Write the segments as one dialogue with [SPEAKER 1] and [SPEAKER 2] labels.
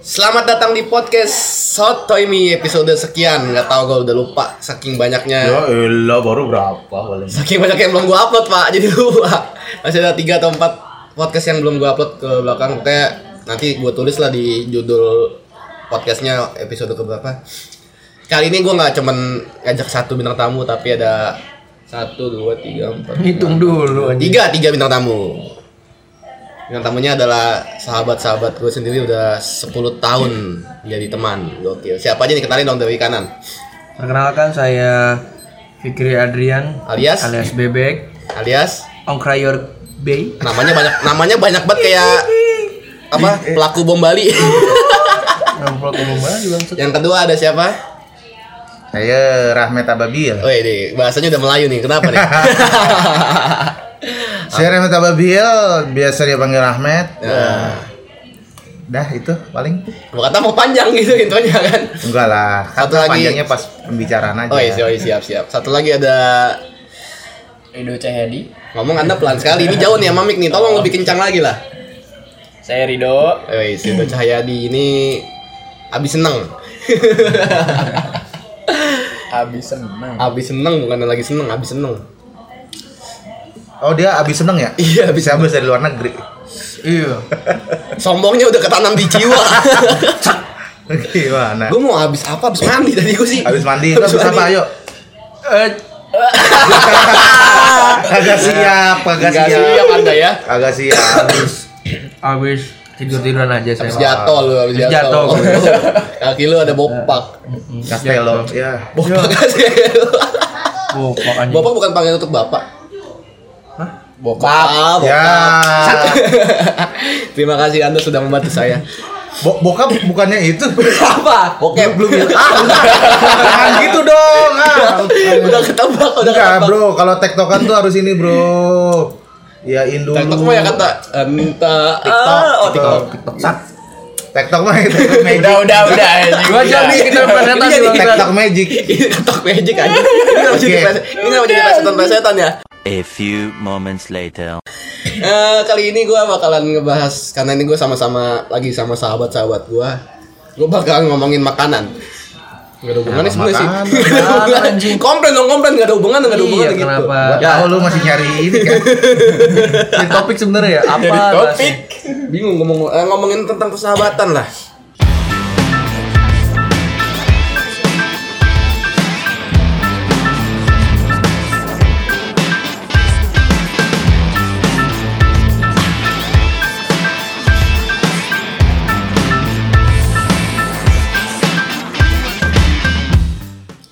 [SPEAKER 1] Selamat datang di podcast Sotoimi episode sekian Gak tau gue udah lupa saking banyaknya
[SPEAKER 2] elah baru berapa paling.
[SPEAKER 1] Saking banyak yang belum gue upload pak jadi lupa Masih ada 3 atau 4 podcast yang belum gue upload ke belakang Pokoknya nanti gue tulis lah di judul podcastnya episode keberapa Kali ini gue gak cuman ngajak satu bintang tamu tapi ada satu dua tiga empat
[SPEAKER 3] Hitung dulu anjing.
[SPEAKER 1] Tiga, tiga bintang tamu. Bintang tamunya adalah sahabat-sahabat gue sendiri udah 10 tahun jadi teman. Gokil. Siapa aja nih kenalin dong dari kanan.
[SPEAKER 3] Perkenalkan saya Fikri Adrian
[SPEAKER 1] Alias?
[SPEAKER 3] alias Bebek
[SPEAKER 1] Alias
[SPEAKER 3] Ongkrayor Bay.
[SPEAKER 1] namanya banyak namanya banyak banget kayak apa? Pelaku bom Bali.
[SPEAKER 3] Ngamplok ngomong mana juga maksud.
[SPEAKER 1] Yang kedua ada siapa?
[SPEAKER 2] Saya Rahmat Ababil.
[SPEAKER 1] Oh ini bahasanya udah Melayu nih. Kenapa nih?
[SPEAKER 2] Saya Rahmat Ababil, biasa dia panggil Rahmat. Ya.
[SPEAKER 1] Nah,
[SPEAKER 2] Dah itu paling.
[SPEAKER 1] gua kata mau panjang gitu intronya kan.
[SPEAKER 2] Enggak lah.
[SPEAKER 1] Satu
[SPEAKER 2] Kata
[SPEAKER 1] lagi.
[SPEAKER 2] panjangnya pas pembicaraan aja.
[SPEAKER 1] Oh iya, iya, siap siap. Satu lagi ada
[SPEAKER 4] Rido Cahyadi
[SPEAKER 1] ngomong anda pelan sekali. Ini jauh nih sama mic nih. Tolong lebih kencang lagi lah.
[SPEAKER 4] Saya Rido
[SPEAKER 1] Woi, Sido Cahyadi ini abis seneng.
[SPEAKER 4] Habis senang
[SPEAKER 1] abis seneng bukan lagi seneng, abis seneng.
[SPEAKER 2] Oh dia abis seneng ya?
[SPEAKER 1] Iya, abis
[SPEAKER 2] Bisa abis dari luar negeri.
[SPEAKER 3] Iya.
[SPEAKER 1] Sombongnya udah ketanam di jiwa.
[SPEAKER 2] Gimana?
[SPEAKER 1] gue mau abis apa? Abis mandi tadi gue sih.
[SPEAKER 2] Abis mandi itu abis apa? Ayo.
[SPEAKER 3] Eh,
[SPEAKER 2] Agak siap, agak
[SPEAKER 1] Gak siap
[SPEAKER 2] siap.
[SPEAKER 1] anda ya.
[SPEAKER 2] Agak siap.
[SPEAKER 3] abis tidur-tiduran aja saya.
[SPEAKER 1] Abis jatuh lu, abis
[SPEAKER 3] Abis
[SPEAKER 1] jatuh.
[SPEAKER 3] jatuh, gua.
[SPEAKER 1] Kaki lu ada bopak.
[SPEAKER 3] Mm-mm.
[SPEAKER 2] Castello. Ya.
[SPEAKER 1] Bopak kasih.
[SPEAKER 3] Bopak anjing.
[SPEAKER 1] Bopak bukan panggil untuk bapak.
[SPEAKER 3] Hah?
[SPEAKER 1] Bopak.
[SPEAKER 2] Ya.
[SPEAKER 1] Terima kasih anda sudah membantu saya.
[SPEAKER 2] Bo- bokap bukannya itu.
[SPEAKER 1] apa?
[SPEAKER 2] Eh,
[SPEAKER 1] Bokep belum ya?
[SPEAKER 2] Ah, Jangan gitu dong. ah.
[SPEAKER 1] udah ketebak, udah
[SPEAKER 2] Enggak
[SPEAKER 1] ketebak.
[SPEAKER 2] bro, kalau tektokan tuh harus ini bro Yain dulu
[SPEAKER 1] TikTok mah ya kata enta
[SPEAKER 2] TikTok
[SPEAKER 1] ah, oh TikTok.
[SPEAKER 2] TikTok Sak. TikTok mah itu magic
[SPEAKER 4] Udah udah udah
[SPEAKER 1] gitu ya.
[SPEAKER 4] anjing.
[SPEAKER 3] Gua jadi kita
[SPEAKER 1] Ini
[SPEAKER 3] presentasi
[SPEAKER 1] jadi
[SPEAKER 3] bang.
[SPEAKER 1] kita-
[SPEAKER 2] TikTok magic
[SPEAKER 1] Ini ketok magic aja. Ini kenapa jadi
[SPEAKER 2] Oke.
[SPEAKER 1] pres- ini kenapa jadi presetan presetan ya?
[SPEAKER 5] A few moments later.
[SPEAKER 1] Eh, kali ini gue bakalan ngebahas karena ini gue sama-sama lagi sama sahabat-sahabat gue. Gue bakal ngomongin makanan. Gak ada hubungannya sebenarnya sih.
[SPEAKER 2] makanan,
[SPEAKER 1] Gak ada hubungan.
[SPEAKER 3] anjing.
[SPEAKER 1] Komplain dong komplain gak ada hubungan gak ada hubungan
[SPEAKER 3] Iya,
[SPEAKER 1] gitu.
[SPEAKER 3] kenapa?
[SPEAKER 2] Ya oh, lu masih nyari ini kan
[SPEAKER 3] Jadi topik sebenarnya ya. Apa?
[SPEAKER 4] Jadi topik
[SPEAKER 3] bahasnya?
[SPEAKER 1] Bingung ngomong eh, ngomongin tentang persahabatan lah.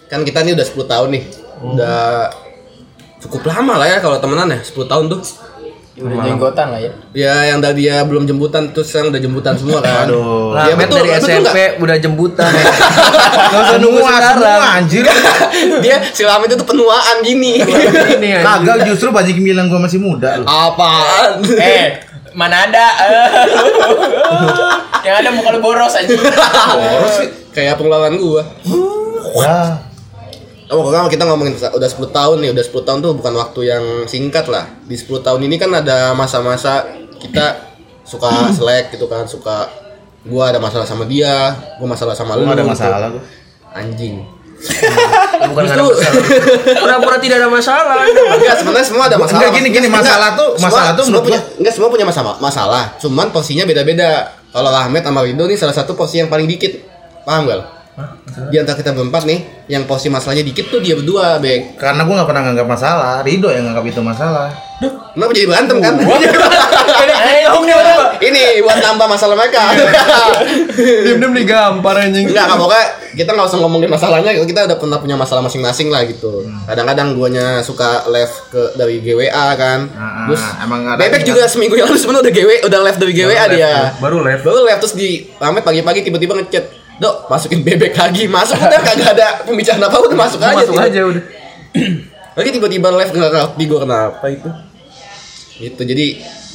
[SPEAKER 1] Kan kita nih udah 10 tahun nih. Udah cukup lama lah ya kalau temenan ya 10 tahun tuh.
[SPEAKER 4] Udah jenggotan lah ya
[SPEAKER 1] Ya yang tadi ya belum jemputan terus sekarang udah jemputan semua kan.
[SPEAKER 2] Aduh.
[SPEAKER 3] Lah,
[SPEAKER 1] Ya,
[SPEAKER 3] Matt
[SPEAKER 1] betul,
[SPEAKER 3] dari
[SPEAKER 1] betul
[SPEAKER 3] SMP
[SPEAKER 1] nggak?
[SPEAKER 3] udah jemputan. ya. Nggak usah nunggu
[SPEAKER 2] Semua, semua
[SPEAKER 3] sekarang.
[SPEAKER 2] anjir
[SPEAKER 1] Dia si Lama itu tuh penuaan gini.
[SPEAKER 3] Ini anjing.
[SPEAKER 2] Kagak justru banyak yang bilang gua masih muda lu
[SPEAKER 1] Apaan?
[SPEAKER 4] Eh Mana ada Eh. Yang ada muka lu boros aja
[SPEAKER 1] Kayak pengeluaran gua.
[SPEAKER 2] Wah
[SPEAKER 1] Oh, kalau kita ngomongin persa- udah 10 tahun nih, udah 10 tahun tuh bukan waktu yang singkat lah. Di 10 tahun ini kan ada masa-masa kita suka selek gitu kan, suka gua ada masalah sama dia, gua masalah sama lu.
[SPEAKER 2] Gua
[SPEAKER 1] gitu.
[SPEAKER 2] ada masalah gua
[SPEAKER 1] Anjing.
[SPEAKER 3] Bukan nggak ada
[SPEAKER 1] Justru-
[SPEAKER 3] masalah. Pura-pura tidak ada masalah.
[SPEAKER 1] Enggak, sebenarnya semua ada masalah.
[SPEAKER 2] Enggak, gini, gini,
[SPEAKER 1] Enggak,
[SPEAKER 2] masalah tuh-
[SPEAKER 1] semua-
[SPEAKER 2] masalah tuh
[SPEAKER 1] semua
[SPEAKER 2] menurut
[SPEAKER 1] punya, enggak semua punya masalah, masalah. Cuman porsinya beda-beda. Kalau Ahmed sama Rido nih salah satu porsi yang paling dikit. Paham gak? lo? Di antara kita berempat nih, yang porsi masalahnya dikit tuh dia berdua, Bek.
[SPEAKER 2] Karena gua gak pernah nganggap masalah Rido yang nganggap itu masalah
[SPEAKER 1] Kenapa jadi berantem kan?
[SPEAKER 4] Eh dong dia apa?
[SPEAKER 1] Ini buat tambah masalah mereka.
[SPEAKER 3] Diam-diam digampar anjing.
[SPEAKER 1] Enggak, kan pokoknya kita nggak usah ngomongin masalahnya, kita udah pernah punya masalah masing-masing lah gitu. Kadang-kadang guanya suka left ke dari GWA kan.
[SPEAKER 2] Nah,
[SPEAKER 1] Terus
[SPEAKER 2] emang ada-
[SPEAKER 1] Bebek juga seminggu yang lalu sebenarnya udah GW, udah left ya. dari GWA
[SPEAKER 3] ya.
[SPEAKER 1] dia.
[SPEAKER 3] Baru live.
[SPEAKER 1] Baru left terus di Ahmed pagi-pagi tiba-tiba ngechat, "Dok, masukin bebek lagi." Masuk udah kagak ada pembicaraan apa udah masuk aja.
[SPEAKER 3] Masuk
[SPEAKER 1] tiba-
[SPEAKER 3] aja udah.
[SPEAKER 1] Lagi tiba-tiba left nggak ngerti gue kenapa itu. Gitu. Jadi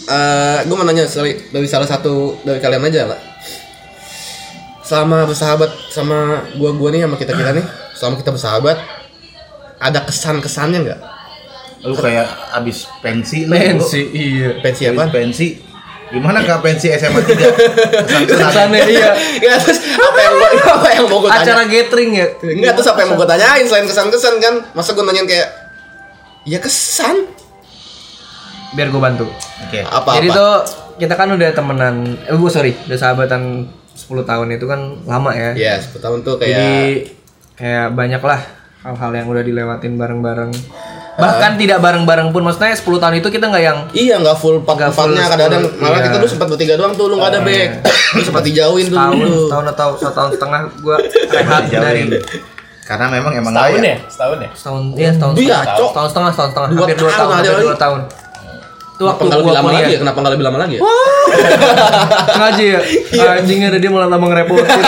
[SPEAKER 1] eh gue mau nanya sorry, dari salah satu dari kalian aja lah. Selama bersahabat sama gua-gua nih sama kita-kita nih, selama kita bersahabat ada kesan-kesannya nggak?
[SPEAKER 2] Lu kayak abis pensi lu
[SPEAKER 3] Pensi, iya.
[SPEAKER 1] Pensi
[SPEAKER 2] Abis
[SPEAKER 1] apa?
[SPEAKER 2] pensi Gimana kapensi SMA 3? Kesan-kesan.
[SPEAKER 3] Kesannya iya.
[SPEAKER 1] ya terus apa yang gua apa yang mau gua tanya
[SPEAKER 3] Acara gathering ya.
[SPEAKER 1] enggak terus apa yang mau gua
[SPEAKER 3] Iya.
[SPEAKER 1] tanyain selain kesan-kesan kan masa gua nanyain kayak ya kesan
[SPEAKER 3] Biar gue bantu.
[SPEAKER 2] Oke.
[SPEAKER 1] apa
[SPEAKER 3] Jadi
[SPEAKER 1] apa
[SPEAKER 3] tuh kita kan udah temenan, eh gue sorry, udah sahabatan 10 tahun itu kan lama ya.
[SPEAKER 1] ya sepuluh tahun tuh kayak
[SPEAKER 3] Jadi kayak banyak lah hal-hal yang udah dilewatin bareng-bareng. Bahkan tidak bareng-bareng pun, maksudnya 10 tahun itu kita nggak yang
[SPEAKER 1] Iya nggak full part
[SPEAKER 3] Nggak full
[SPEAKER 1] partnya kadang-kadang
[SPEAKER 3] full,
[SPEAKER 1] malah
[SPEAKER 3] iya.
[SPEAKER 1] kita dulu sempat bertiga doang tuh lu nggak ada back lu sempat dijauhin tuh
[SPEAKER 3] tahun,
[SPEAKER 1] dulu
[SPEAKER 3] tahun atau satu tahun setengah gue rehat dari
[SPEAKER 2] Dijauhin. Karena memang emang
[SPEAKER 4] Setahun
[SPEAKER 2] layak.
[SPEAKER 4] ya? Setahun ya?
[SPEAKER 3] setahun, ya setahun
[SPEAKER 1] Iya,
[SPEAKER 3] setengah,
[SPEAKER 1] cok.
[SPEAKER 3] setahun setengah, setahun setengah,
[SPEAKER 1] Dua
[SPEAKER 3] hampir 2
[SPEAKER 1] tahun
[SPEAKER 3] tahun,
[SPEAKER 1] ada
[SPEAKER 3] hampir
[SPEAKER 1] lagi.
[SPEAKER 3] 2 tahun. Itu
[SPEAKER 1] Kenapa
[SPEAKER 3] waktu
[SPEAKER 1] nggak lebih
[SPEAKER 3] gue
[SPEAKER 1] lama lagi ya?
[SPEAKER 3] kuliah.
[SPEAKER 1] Kenapa nggak lebih lama lagi ya?
[SPEAKER 3] Ngaji ya,
[SPEAKER 1] Iya.
[SPEAKER 3] anjingnya ada dia malah tambah ngerepotin,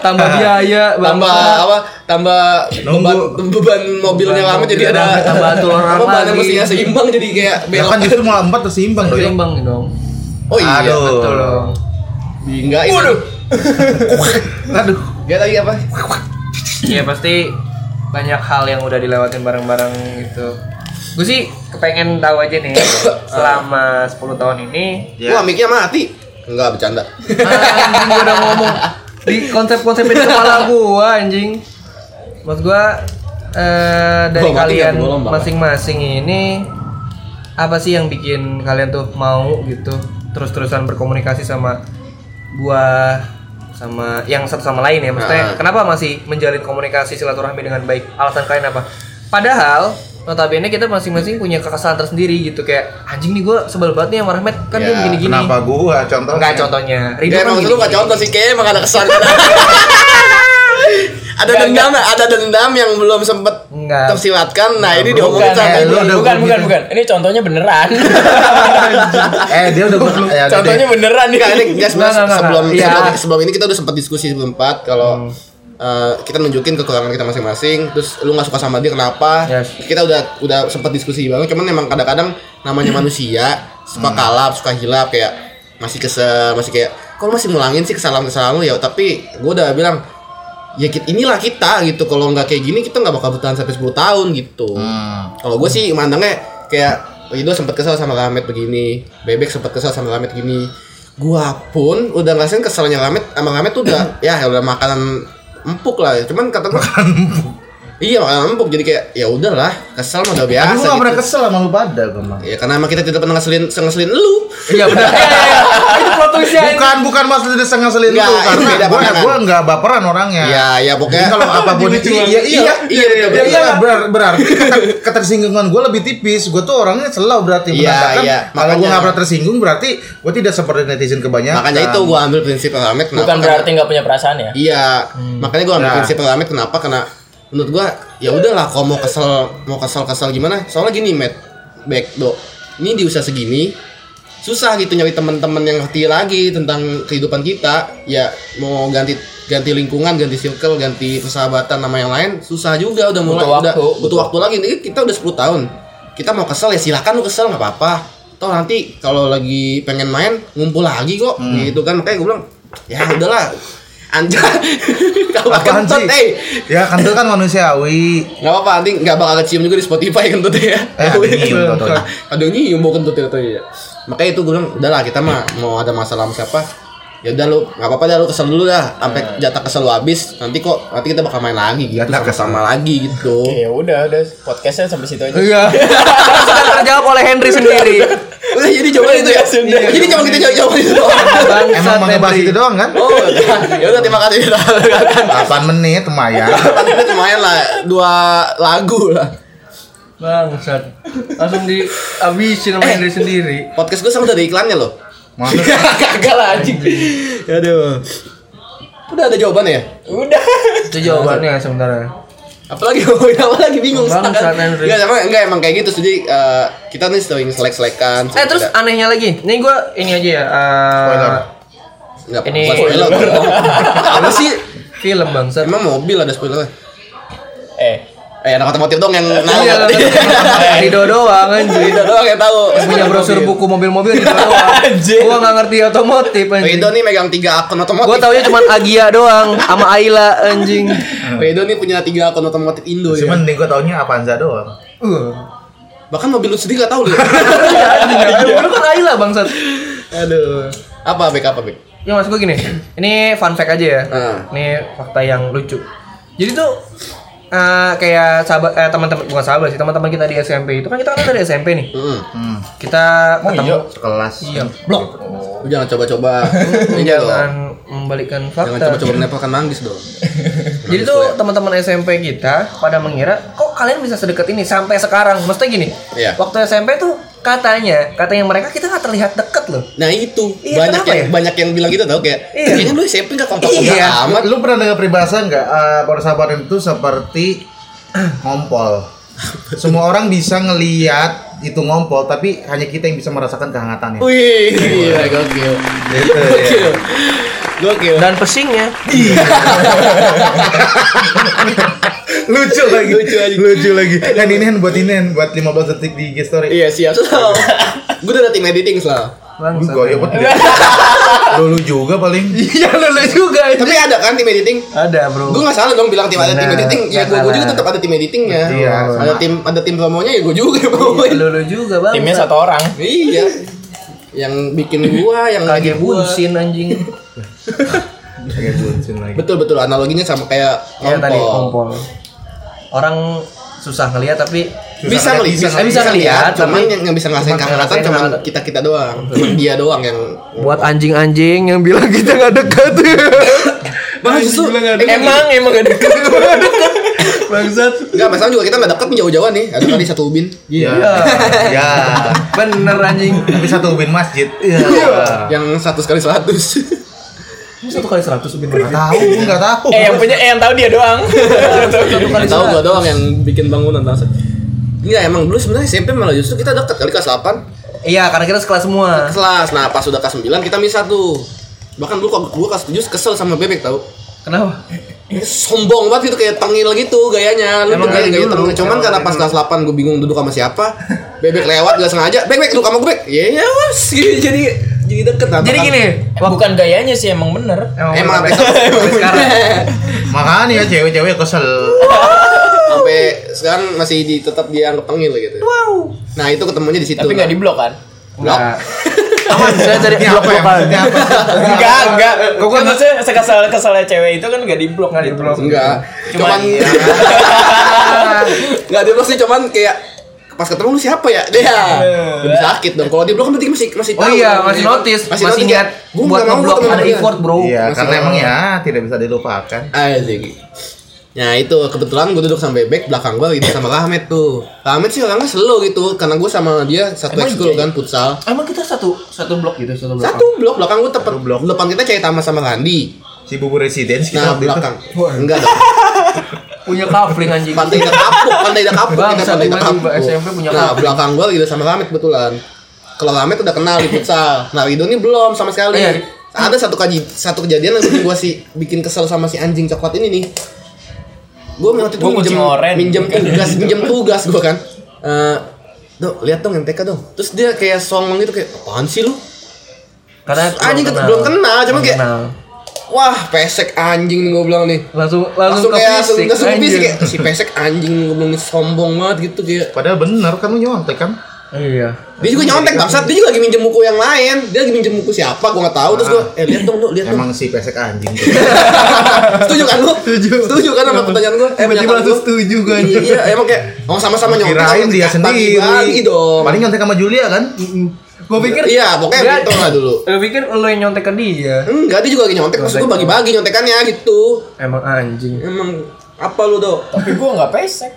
[SPEAKER 3] tambah biaya,
[SPEAKER 1] Tambah
[SPEAKER 3] bangsa.
[SPEAKER 1] apa? Tambah beban, beban mobilnya
[SPEAKER 3] Beban
[SPEAKER 1] lama jadi
[SPEAKER 3] mobil
[SPEAKER 1] ada
[SPEAKER 3] ada, tambah atur orang
[SPEAKER 1] apa, bahan
[SPEAKER 3] lagi.
[SPEAKER 1] emosinya seimbang jadi kayak
[SPEAKER 2] Ya
[SPEAKER 1] belok.
[SPEAKER 2] kan justru malah empat tersimbang
[SPEAKER 3] Bang,
[SPEAKER 2] dong.
[SPEAKER 3] bang dong.
[SPEAKER 1] Oh iya.
[SPEAKER 2] Aduh.
[SPEAKER 3] Betul dong.
[SPEAKER 1] Dinggain. Waduh.
[SPEAKER 2] Aduh.
[SPEAKER 1] Dia lagi apa?
[SPEAKER 3] Iya pasti banyak hal yang udah dilewatin bareng-bareng gitu. Gue sih kepengen tahu aja nih selama 10 tahun ini
[SPEAKER 2] Iya.
[SPEAKER 1] Wah, mic-nya mati. Enggak bercanda.
[SPEAKER 3] anjing gue udah ngomong di konsep-konsep di kepala gue anjing. Maksud gue eh, dari
[SPEAKER 1] Gua mati
[SPEAKER 3] kalian
[SPEAKER 1] nggak? Gua lomba.
[SPEAKER 3] masing-masing ini apa sih yang bikin kalian tuh mau gitu terus-terusan berkomunikasi sama gua sama yang satu sama lain ya maksudnya
[SPEAKER 1] Nah.
[SPEAKER 3] kenapa masih menjalin komunikasi silaturahmi dengan baik alasan kalian apa padahal notabene kita masing-masing punya kekesalan tersendiri gitu kayak anjing nih gua sebel banget nih sama Rahmat kan dia
[SPEAKER 1] Ya,
[SPEAKER 3] begini-gini
[SPEAKER 2] Kenapa gua contoh?
[SPEAKER 3] enggak contohnya Ridho
[SPEAKER 1] Ya
[SPEAKER 3] kan
[SPEAKER 1] emang
[SPEAKER 3] gini,
[SPEAKER 1] lu nggak contoh sih kayaknya emang ada kesan. kan? ada dendam, ada dendam yang belum sempet
[SPEAKER 3] Enggak.
[SPEAKER 1] tersilatkan. Nah, ini diomongin
[SPEAKER 4] Bukan,
[SPEAKER 1] sama ini.
[SPEAKER 2] ada
[SPEAKER 4] eh, bukan,
[SPEAKER 2] gua
[SPEAKER 4] bukan,
[SPEAKER 2] gitu.
[SPEAKER 4] bukan. Ini contohnya beneran.
[SPEAKER 2] Eh dia udah gua ya, udah
[SPEAKER 4] contohnya
[SPEAKER 2] deh.
[SPEAKER 4] beneran nih.
[SPEAKER 1] Enggak, ini guys,
[SPEAKER 3] Enggak, enggak, enggak,
[SPEAKER 1] sebelum,
[SPEAKER 3] enggak.
[SPEAKER 1] sebelum,
[SPEAKER 3] Iya.
[SPEAKER 1] sebelum ini kita udah sempat diskusi berempat
[SPEAKER 4] Hmm.
[SPEAKER 1] kalau eh, kita nunjukin kekurangan kita masing-masing, terus lu nggak suka sama dia kenapa?
[SPEAKER 3] Yes.
[SPEAKER 1] Kita udah udah sempat diskusi banget, cuman emang kadang-kadang namanya manusia suka
[SPEAKER 4] Hmm.
[SPEAKER 1] kalap, suka hilap kayak masih kese masih kayak kalau masih ngulangin sih kesalahan-kesalahan lu ya, tapi gue udah bilang ya kit- inilah kita gitu kalau nggak kayak gini kita nggak bakal bertahan sampai 10 tahun gitu
[SPEAKER 2] Hmm.
[SPEAKER 1] kalau gue sih mandangnya kayak Ridho sempat kesel sama Lamet begini Bebek sempat kesel sama Lamet gini gua pun udah ngerasain keselnya Lamet sama Lamet tuh udah ya udah makanan empuk lah cuman kata gua iya makanan empuk jadi kayak ya udahlah kesel mah udah biasa
[SPEAKER 2] Tapi gua nggak pernah
[SPEAKER 1] gitu.
[SPEAKER 2] kesel sama lu pada gua mah.
[SPEAKER 1] ya karena emang kita tidak pernah ngeselin ngeselin lu
[SPEAKER 3] iya benar Iya, iya, iya. itu plot twist-nya, anjing.
[SPEAKER 2] Bukan bukan maksud dia ngeselin lu
[SPEAKER 1] Enggak, itu
[SPEAKER 2] karena
[SPEAKER 1] beda
[SPEAKER 2] gua
[SPEAKER 1] pandangan.
[SPEAKER 2] gua enggak baperan orangnya.
[SPEAKER 1] ya ya
[SPEAKER 2] Nah, Jadi
[SPEAKER 1] pokoknya
[SPEAKER 2] kalau apapun itu iya iya
[SPEAKER 1] iya betul,
[SPEAKER 2] Ya,
[SPEAKER 1] betul.
[SPEAKER 2] iya, ber- berarti keter- ketersinggungan gue lebih tipis. Gue tuh orangnya selalu berarti
[SPEAKER 1] Iya,
[SPEAKER 2] menandakan
[SPEAKER 1] iya,
[SPEAKER 2] kalau gue
[SPEAKER 1] makanya.
[SPEAKER 2] nggak pernah tersinggung berarti gue tidak seperti netizen kebanyakan.
[SPEAKER 1] makanya itu gua ambil prinsip Lamet kenapa
[SPEAKER 4] Bukan
[SPEAKER 1] karena-
[SPEAKER 4] berarti nggak punya perasaan ya.
[SPEAKER 1] Iya, makanya gue ambil
[SPEAKER 2] Nah.
[SPEAKER 1] prinsip pengalaman kenapa karena menurut gua ya udahlah kalau mau kesel mau kesel kesel gimana soalnya gini met back do ini di usia segini susah gitu nyari teman-teman yang ngerti lagi tentang kehidupan kita ya mau ganti ganti lingkungan ganti circle ganti persahabatan sama yang lain susah juga udah mulai
[SPEAKER 4] Butuh
[SPEAKER 1] udah
[SPEAKER 4] waktu.
[SPEAKER 1] butuh waktu lagi ini kita udah 10 tahun kita mau kesel ya silakan lu kesel nggak apa-apa toh nanti kalau lagi pengen main ngumpul lagi kok gitu kan makanya gue bilang ya udahlah Anja kalau
[SPEAKER 2] Apaan
[SPEAKER 1] kentut
[SPEAKER 2] sih?
[SPEAKER 1] eh
[SPEAKER 2] Ya kentut kan manusiawi.
[SPEAKER 1] nggak apa-apa nanti nggak bakal kecium juga di Spotify kentut ya
[SPEAKER 2] Eh, nyium kentut.
[SPEAKER 1] ada yang nyium mau kentut itu ya makanya itu gue bilang udahlah kita mah mau ada masalah sama siapa ya udah lu nggak apa-apa dah lu kesel dulu dah sampai jatah kesel lu habis nanti kok nanti kita bakal main lagi gitu
[SPEAKER 2] Jatah
[SPEAKER 1] sama sama lagi gitu
[SPEAKER 4] Ya udah, udah. Podcastnya sampai situ aja.
[SPEAKER 3] Iya. Sudah terjawab oleh Henry sendiri.
[SPEAKER 1] Udah jadi coba itu ya.
[SPEAKER 4] Iya.
[SPEAKER 1] Jadi cuma kita jawab-jawab itu doang.
[SPEAKER 2] Emang
[SPEAKER 3] Bangsat
[SPEAKER 2] mau ngebahas
[SPEAKER 3] Henry.
[SPEAKER 2] itu doang kan?
[SPEAKER 1] Oh, ya udah terima kasih sudah mendengarkan.
[SPEAKER 2] 8 menit lumayan.
[SPEAKER 1] Tapi kita lumayan lah dua lagu lah.
[SPEAKER 3] Bangsat. Langsung dihabisin sama Henry sendiri.
[SPEAKER 1] Podcast gue sama udah ada iklannya loh.
[SPEAKER 2] Maksud
[SPEAKER 1] Kagak lah anjing. Aduh. Udah ada jawabannya ya?
[SPEAKER 4] Udah.
[SPEAKER 3] Itu jawabannya sebenarnya.
[SPEAKER 1] Apalagi ngomongin apa lagi bingung
[SPEAKER 3] Bang,
[SPEAKER 1] sekarang.
[SPEAKER 3] saat Henry.
[SPEAKER 1] Enggak, emang, enggak emang kayak gitu jadi eh, kita nih sering selek-selekan.
[SPEAKER 3] Eh terus anehnya lagi, nih gue ini aja ya. eh,
[SPEAKER 2] Spoiler.
[SPEAKER 1] enggak
[SPEAKER 3] ini-
[SPEAKER 1] ini spoiler. Apa sih?
[SPEAKER 3] Film bangsat. Iya,
[SPEAKER 1] Emang mobil ada spoiler?
[SPEAKER 4] Eh,
[SPEAKER 1] Eh, anak otomotif dong yang
[SPEAKER 3] Iya,
[SPEAKER 1] nanya.
[SPEAKER 3] Rido doang anjing.
[SPEAKER 1] Itu doang yang tahu.
[SPEAKER 3] Punya brosur buku mobil-mobil Rido doang.
[SPEAKER 4] Anjing.
[SPEAKER 3] Gua nggak ngerti otomotif anjing.
[SPEAKER 1] Rido nih megang tiga akun otomotif.
[SPEAKER 3] Gua ya. taunya cuma Agia doang sama Ayla anjing.
[SPEAKER 1] Rido nih punya tiga akun otomotif Indo ya.
[SPEAKER 2] Cuman mending gue taunya Avanza doang.
[SPEAKER 3] Uh.
[SPEAKER 1] Bahkan mobil lu sendiri gak tahu lu.
[SPEAKER 3] Iya, anjing. Lu kan Ayla bangsat.
[SPEAKER 1] Aduh. Apa Bek apa Bek?
[SPEAKER 3] Ya maksud gue gini, ini fun fact aja ya.
[SPEAKER 1] Ah.
[SPEAKER 3] Ini fakta yang lucu. Jadi tuh eh, kayak sahabat eh, teman-teman bukan sahabat sih, teman-teman kita di SMP itu kan kita kan dari SMP nih.
[SPEAKER 1] Mm.
[SPEAKER 2] Hmm,
[SPEAKER 3] Kita
[SPEAKER 4] Oh, iya.
[SPEAKER 3] ketemu
[SPEAKER 2] sekelas.
[SPEAKER 3] iya, blok.
[SPEAKER 1] Lu jangan coba-coba. Ini
[SPEAKER 3] Jangan
[SPEAKER 1] dong.
[SPEAKER 3] membalikkan
[SPEAKER 1] Jangan
[SPEAKER 3] fakta.
[SPEAKER 1] coba-coba menempelkan manggis dong.
[SPEAKER 3] Jadi tuh teman-teman SMP kita pada mengira kok kalian bisa sedekat ini sampai sekarang. Maksudnya gini,
[SPEAKER 1] Iya.
[SPEAKER 3] waktu SMP tuh katanya, katanya mereka kita nggak terlihat dekat loh.
[SPEAKER 1] Nah itu
[SPEAKER 3] Iya,
[SPEAKER 1] banyak
[SPEAKER 3] kenapa
[SPEAKER 1] yang
[SPEAKER 3] ya?
[SPEAKER 1] banyak yang bilang gitu tau kayak
[SPEAKER 3] Iya.
[SPEAKER 1] kayaknya lu SMP nggak kompak
[SPEAKER 3] Iya.
[SPEAKER 1] kompak amat.
[SPEAKER 2] Lu pernah dengar peribahasa nggak? Eh, persahabatan itu seperti ngompol. Semua orang bisa ngeliat itu ngompol, tapi hanya kita yang bisa merasakan kehangatannya.
[SPEAKER 1] Wih, gila, Iya, gokil.
[SPEAKER 2] Gitu, ya.
[SPEAKER 1] Gokil. Gokil.
[SPEAKER 3] Dan pesingnya
[SPEAKER 2] lucu lagi,
[SPEAKER 1] Lucu
[SPEAKER 2] lucu,
[SPEAKER 1] aja.
[SPEAKER 2] lagi. Dan ini buat ini Han, buat 15 detik di IG story.
[SPEAKER 1] Iya siap Sal. Gue udah ada tim editing Sal.
[SPEAKER 2] Lu
[SPEAKER 3] Bangsa.
[SPEAKER 2] gaya banget. ya. Lu lu juga paling.
[SPEAKER 3] Iya lulu juga.
[SPEAKER 1] Tapi ada kan tim editing?
[SPEAKER 3] Ada bro.
[SPEAKER 1] Gue nggak salah dong bilang tim ada tim
[SPEAKER 3] Benar,
[SPEAKER 1] editing. Ya gue
[SPEAKER 3] nggak
[SPEAKER 1] juga
[SPEAKER 3] salah.
[SPEAKER 1] tetap ada tim editingnya.
[SPEAKER 2] Iya,
[SPEAKER 1] Ada tim ada tim promonya ya gue juga yang promoin.
[SPEAKER 3] Lulu Iya, juga bang.
[SPEAKER 4] Timnya satu orang.
[SPEAKER 1] Iya. Yang bikin gua yang lagi
[SPEAKER 3] Kaget
[SPEAKER 1] gua.
[SPEAKER 3] bunsin anjing.
[SPEAKER 2] Kayak buncin lagi.
[SPEAKER 1] Betul betul analoginya sama kayak
[SPEAKER 3] Iya tadi
[SPEAKER 1] kompol.
[SPEAKER 3] kompol. Orang susah ngelihat tapi
[SPEAKER 1] Bisa meli-
[SPEAKER 2] ngeliat,
[SPEAKER 1] bisa bisa
[SPEAKER 3] ngeliat, bisa
[SPEAKER 1] ngelihat,
[SPEAKER 3] ngeliat,
[SPEAKER 1] cuman
[SPEAKER 3] tapi-
[SPEAKER 1] yang, yang bisa ngerasain
[SPEAKER 3] cuman
[SPEAKER 1] kehangatan
[SPEAKER 3] ngerasain
[SPEAKER 1] cuman
[SPEAKER 3] kehangatan.
[SPEAKER 1] kita kita doang, cuman dia doang yang
[SPEAKER 3] buat anjing-anjing yang bilang kita nggak dekat. Nah,
[SPEAKER 1] Bang Nah, justru
[SPEAKER 4] Emang emang gak deket.
[SPEAKER 3] Bangsat.
[SPEAKER 1] Enggak, masalah juga kita nggak deket nih jauh-jauhan nih. Ada kali satu ubin
[SPEAKER 2] Iya. Ya.
[SPEAKER 3] Bener anjing.
[SPEAKER 2] Tapi satu ubin masjid. Iya.
[SPEAKER 1] yang satu kali seratus.
[SPEAKER 3] Ini satu kali seratus lebih
[SPEAKER 2] Nggak tahu, gua nggak tahu.
[SPEAKER 4] Eh yang punya eh yang tahu dia doang.
[SPEAKER 3] iya, Satu kali
[SPEAKER 1] Nggak tahu gua doang yang bikin bangunan tahu. Iya emang dulu sebenarnya SMP malah justru kita deket kali kelas 8
[SPEAKER 3] Iya karena kita sekelas semua.
[SPEAKER 1] kelas. Nah pas sudah kelas 9 kita misah tuh. Bahkan dulu kok gua kelas 7 kesel sama bebek tau.
[SPEAKER 3] Kenapa?
[SPEAKER 1] sombong banget gitu kayak tengil gitu gayanya lu
[SPEAKER 3] Emang
[SPEAKER 1] kayak
[SPEAKER 3] dari
[SPEAKER 1] gaya
[SPEAKER 3] dulu.
[SPEAKER 1] tengil cuman
[SPEAKER 3] Emang
[SPEAKER 1] karena
[SPEAKER 3] dari
[SPEAKER 1] pas kelas 8 gue bingung duduk sama siapa bebek lewat gak sengaja bek bek duduk sama gue bek ya ya wes gitu jadi jadi deket apa
[SPEAKER 3] Jadi
[SPEAKER 1] kan?
[SPEAKER 3] gini.
[SPEAKER 4] Eh, Bukan gayanya sih emang bener.
[SPEAKER 1] emang
[SPEAKER 3] Emang
[SPEAKER 1] sampai
[SPEAKER 3] sampai sekarang.
[SPEAKER 2] Makanya cewek-cewek kesel.
[SPEAKER 1] sampai sekarang masih di, tetap dianggap tengil gitu
[SPEAKER 3] Wow.
[SPEAKER 1] nah itu ketemunya di situ
[SPEAKER 4] Tapi
[SPEAKER 1] nah.
[SPEAKER 4] nggak di blok kan?
[SPEAKER 1] Blok.
[SPEAKER 3] Aman, saya cari
[SPEAKER 2] Ini apa ya?
[SPEAKER 3] blok-blokan.
[SPEAKER 2] Maksudnya apa sih?
[SPEAKER 4] Enggak, enggak.
[SPEAKER 2] Kok
[SPEAKER 4] Kok
[SPEAKER 2] kan-
[SPEAKER 4] kan maksudnya sekesal kesalnya cewek itu kan nggak di blok, nggak di
[SPEAKER 3] gitu?
[SPEAKER 4] blok.
[SPEAKER 1] enggak cuman
[SPEAKER 4] Cuman-
[SPEAKER 3] iya. Ah.
[SPEAKER 1] enggak di blok sih cuman kayak pas ketemu lu siapa ya dia lebih sakit dong kalau di blok kan berarti masih masih
[SPEAKER 3] Iya. Oh
[SPEAKER 1] tahu
[SPEAKER 3] iya,
[SPEAKER 1] dong.
[SPEAKER 3] masih notice, masih,
[SPEAKER 1] notice,
[SPEAKER 3] niat
[SPEAKER 1] kayak, gua
[SPEAKER 3] buat
[SPEAKER 1] nggak mau
[SPEAKER 3] ngeblok
[SPEAKER 1] ketemu
[SPEAKER 3] ada
[SPEAKER 1] dia.
[SPEAKER 3] effort, Bro.
[SPEAKER 2] Iya,
[SPEAKER 1] Masih
[SPEAKER 2] karena
[SPEAKER 1] lama.
[SPEAKER 2] emang ya tidak bisa dilupakan.
[SPEAKER 1] Asik. Nah itu kebetulan gue duduk sama bebek belakang gue gitu sama Rahmat tuh. Rahmat sih orangnya slow gitu karena gue sama dia satu
[SPEAKER 4] Emang
[SPEAKER 1] ekskul
[SPEAKER 4] iya?
[SPEAKER 1] kan futsal.
[SPEAKER 3] Emang kita satu satu blok gitu, satu blok.
[SPEAKER 1] Satu blok belakang gue tepat
[SPEAKER 2] Satu blok.
[SPEAKER 1] depan kita cewek Tama sama Randi.
[SPEAKER 2] Si bubur residen sih
[SPEAKER 1] Nah
[SPEAKER 2] kita waktu itu.
[SPEAKER 3] gitu?
[SPEAKER 1] belakang enggak dong.
[SPEAKER 3] Punya kafling anjing.
[SPEAKER 1] Pantai udah kapuk, pantai udah kapuk,
[SPEAKER 3] Bang,
[SPEAKER 1] kita
[SPEAKER 3] satu
[SPEAKER 1] pantai udah
[SPEAKER 3] lagi,
[SPEAKER 1] kapuk.
[SPEAKER 3] Mbak SMP punya
[SPEAKER 1] nah
[SPEAKER 3] kapuk.
[SPEAKER 1] belakang gue gitu sama Rahmat kebetulan. Kalau Rahmat udah kenal di futsal, nah Rido ini belum sama sekali.
[SPEAKER 3] Iya.
[SPEAKER 1] Ada satu kaji, satu kejadian yang bikin gue sih bikin kesel sama si anjing coklat ini nih. Gue waktu itu
[SPEAKER 4] Gua
[SPEAKER 1] minjem,
[SPEAKER 4] kucing oren.
[SPEAKER 1] minjem tugas, minjem tugas gue kan. Eh, Dok, lihat dong MTK dong. Terus dia kayak songong gitu kayak, apaan sih lu?
[SPEAKER 3] Karena
[SPEAKER 1] Anjing kita belum kenal, cuman
[SPEAKER 3] Belum
[SPEAKER 1] kayak-
[SPEAKER 3] kenal.
[SPEAKER 1] Wah, pesek anjing nih gue bilang nih.
[SPEAKER 3] langsung langsung
[SPEAKER 1] Langsung,
[SPEAKER 3] ke
[SPEAKER 1] kayak
[SPEAKER 3] fisik.
[SPEAKER 1] langsung, langsung ke fisik
[SPEAKER 3] anjing.
[SPEAKER 1] kayak si pesek anjing nih, gue bilang nih sombong banget gitu kayak
[SPEAKER 2] Padahal bener kan lu nyontek kan?
[SPEAKER 3] Iya.
[SPEAKER 1] Dia juga nyontek bangsat, dia juga lagi minjem buku yang lain. Dia lagi minjem buku siapa gua enggak tahu. Terus gua eh lihat dong, Dok, lihat dong.
[SPEAKER 2] Emang si pesek anjing. tuh.
[SPEAKER 1] Setuju kan lu? Setuju. Setuju kan sama pertanyaan gua? Eh,
[SPEAKER 3] Tiba-tiba
[SPEAKER 1] pernyataan
[SPEAKER 3] langsung
[SPEAKER 1] gua?
[SPEAKER 3] setuju gua
[SPEAKER 1] Iya,
[SPEAKER 3] anjing.
[SPEAKER 1] iya, emang kayak mau sama-sama nyontek.
[SPEAKER 2] Kirain dia sendiri.
[SPEAKER 1] Bagi dong.
[SPEAKER 2] Paling nyontek sama Julia kan?
[SPEAKER 3] Gua pikir
[SPEAKER 1] Iya, pokoknya
[SPEAKER 3] Dia-
[SPEAKER 1] gitu lah dulu.
[SPEAKER 3] Lu pikir lu yang nyontek ke dia?
[SPEAKER 1] Enggak, dia juga lagi nyontek. Maksud gua bagi-bagi nyontekannya gitu.
[SPEAKER 3] Emang anjing.
[SPEAKER 1] Emang apa lu, Dok?
[SPEAKER 4] Tapi gua nggak pesek.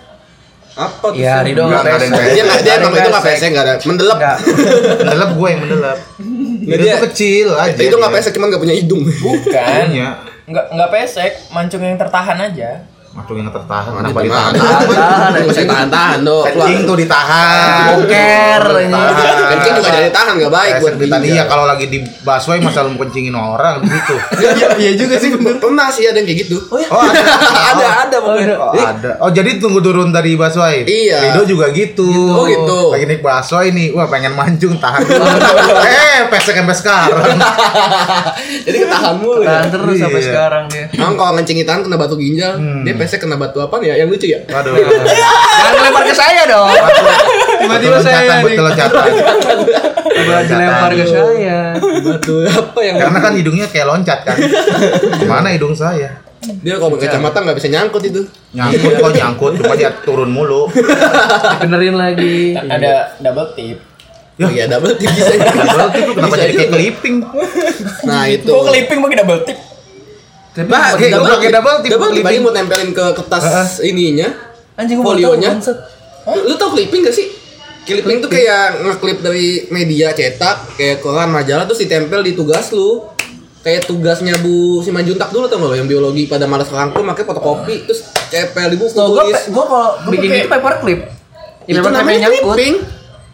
[SPEAKER 1] Apa tuh?
[SPEAKER 3] Ya, Rido
[SPEAKER 2] Enggak, enggak ada yang
[SPEAKER 1] Dia enggak dia
[SPEAKER 3] Ada
[SPEAKER 1] emang itu enggak
[SPEAKER 3] pesek.
[SPEAKER 1] pesek, enggak ada. Mendelep.
[SPEAKER 3] Enggak.
[SPEAKER 2] Mendelap gue yang mendelap.
[SPEAKER 1] Nggak,
[SPEAKER 2] Dia tuh kecil aja.
[SPEAKER 1] Itu enggak
[SPEAKER 2] dia.
[SPEAKER 1] pesek, cuman enggak punya hidung.
[SPEAKER 4] Bukan.
[SPEAKER 2] Iya.
[SPEAKER 4] Nggak nggak pesek, mancung yang tertahan aja.
[SPEAKER 2] Matung yang tertahan,
[SPEAKER 1] Mana
[SPEAKER 2] kenapa
[SPEAKER 1] ditahan?
[SPEAKER 2] ditahan?
[SPEAKER 3] Tahan,
[SPEAKER 1] Gitu. Nggak usah tahan-tahan, Dok.
[SPEAKER 2] Kencing tuh ditahan.
[SPEAKER 3] Boker anjing.
[SPEAKER 2] Tahan.
[SPEAKER 1] Kencing juga Kan jadi tahan enggak baik buat
[SPEAKER 2] Pesek ditahan. Iya, kalau lagi di busway masalah lu kencingin orang gitu.
[SPEAKER 1] Iya juga sih Pernah sih ada yang kayak gitu. Oh,
[SPEAKER 2] Oh, ada.
[SPEAKER 1] ada ada pokoknya.
[SPEAKER 2] Oh, ada. Oh, jadi tunggu turun dari busway.
[SPEAKER 1] Iya.
[SPEAKER 2] Rido juga gitu.
[SPEAKER 1] Oh, gitu.
[SPEAKER 2] Lagi naik busway nih. Wah, pengen mancung tahan. dulu. eh, pesek sampai sekarang.
[SPEAKER 1] Jadi ketahan mulu.
[SPEAKER 3] Tahan terus sampai
[SPEAKER 2] Iya.
[SPEAKER 3] sekarang dia.
[SPEAKER 1] Emang kalau ngencing di tangan kena batu
[SPEAKER 2] Hmm.
[SPEAKER 1] ginjal, dia pesek kena batu apa ya? Yang lucu ya?
[SPEAKER 2] Waduh.
[SPEAKER 3] Jangan lempar ke saya dong. Tiba-tiba saya
[SPEAKER 2] Buat loncatan.
[SPEAKER 3] tiba dilempar ke saya.
[SPEAKER 1] Batu apa yang
[SPEAKER 2] Karena kan hidungnya kayak loncat kan. Mana hidung saya?
[SPEAKER 1] dia kalau
[SPEAKER 2] Ya.
[SPEAKER 1] pakai kacamata nggak bisa nyangkut itu.
[SPEAKER 2] Nyangkut kok nyangkut, cuma dia turun mulu.
[SPEAKER 3] Benerin
[SPEAKER 4] Iya.
[SPEAKER 3] lagi.
[SPEAKER 4] Ada double tip.
[SPEAKER 1] Iya, double tip bisa.
[SPEAKER 2] Ya. Double tip lu kenapa
[SPEAKER 1] Bisa
[SPEAKER 2] jadi kayak
[SPEAKER 1] juga.
[SPEAKER 2] keliping?
[SPEAKER 1] Nah, itu.
[SPEAKER 4] Gue keliping pakai double tip.
[SPEAKER 3] Tapi
[SPEAKER 1] Nah,
[SPEAKER 2] Pakai- gua pakai double tip,
[SPEAKER 1] Double tip
[SPEAKER 2] clipping.
[SPEAKER 1] aja mau tempelin ke kertas ininya.
[SPEAKER 4] Anjing gua baru
[SPEAKER 1] Folionya.
[SPEAKER 4] tahu, bangsat.
[SPEAKER 1] Lu tau clipping gak sih? Clipping tuh kayak ngeklip dari media cetak, kayak koran, majalah terus ditempel di tugas lu. Kayak tugasnya Bu Simanjuntak dulu tau gak lo yang biologi pada malas rangkum makanya fotokopi terus tempel di buku
[SPEAKER 3] gue
[SPEAKER 1] tulis.
[SPEAKER 3] gue kalau bikin itu paper clip.
[SPEAKER 1] Itu
[SPEAKER 3] Ya, paper clip
[SPEAKER 1] namanya
[SPEAKER 3] yang nyangkut.
[SPEAKER 1] clipping.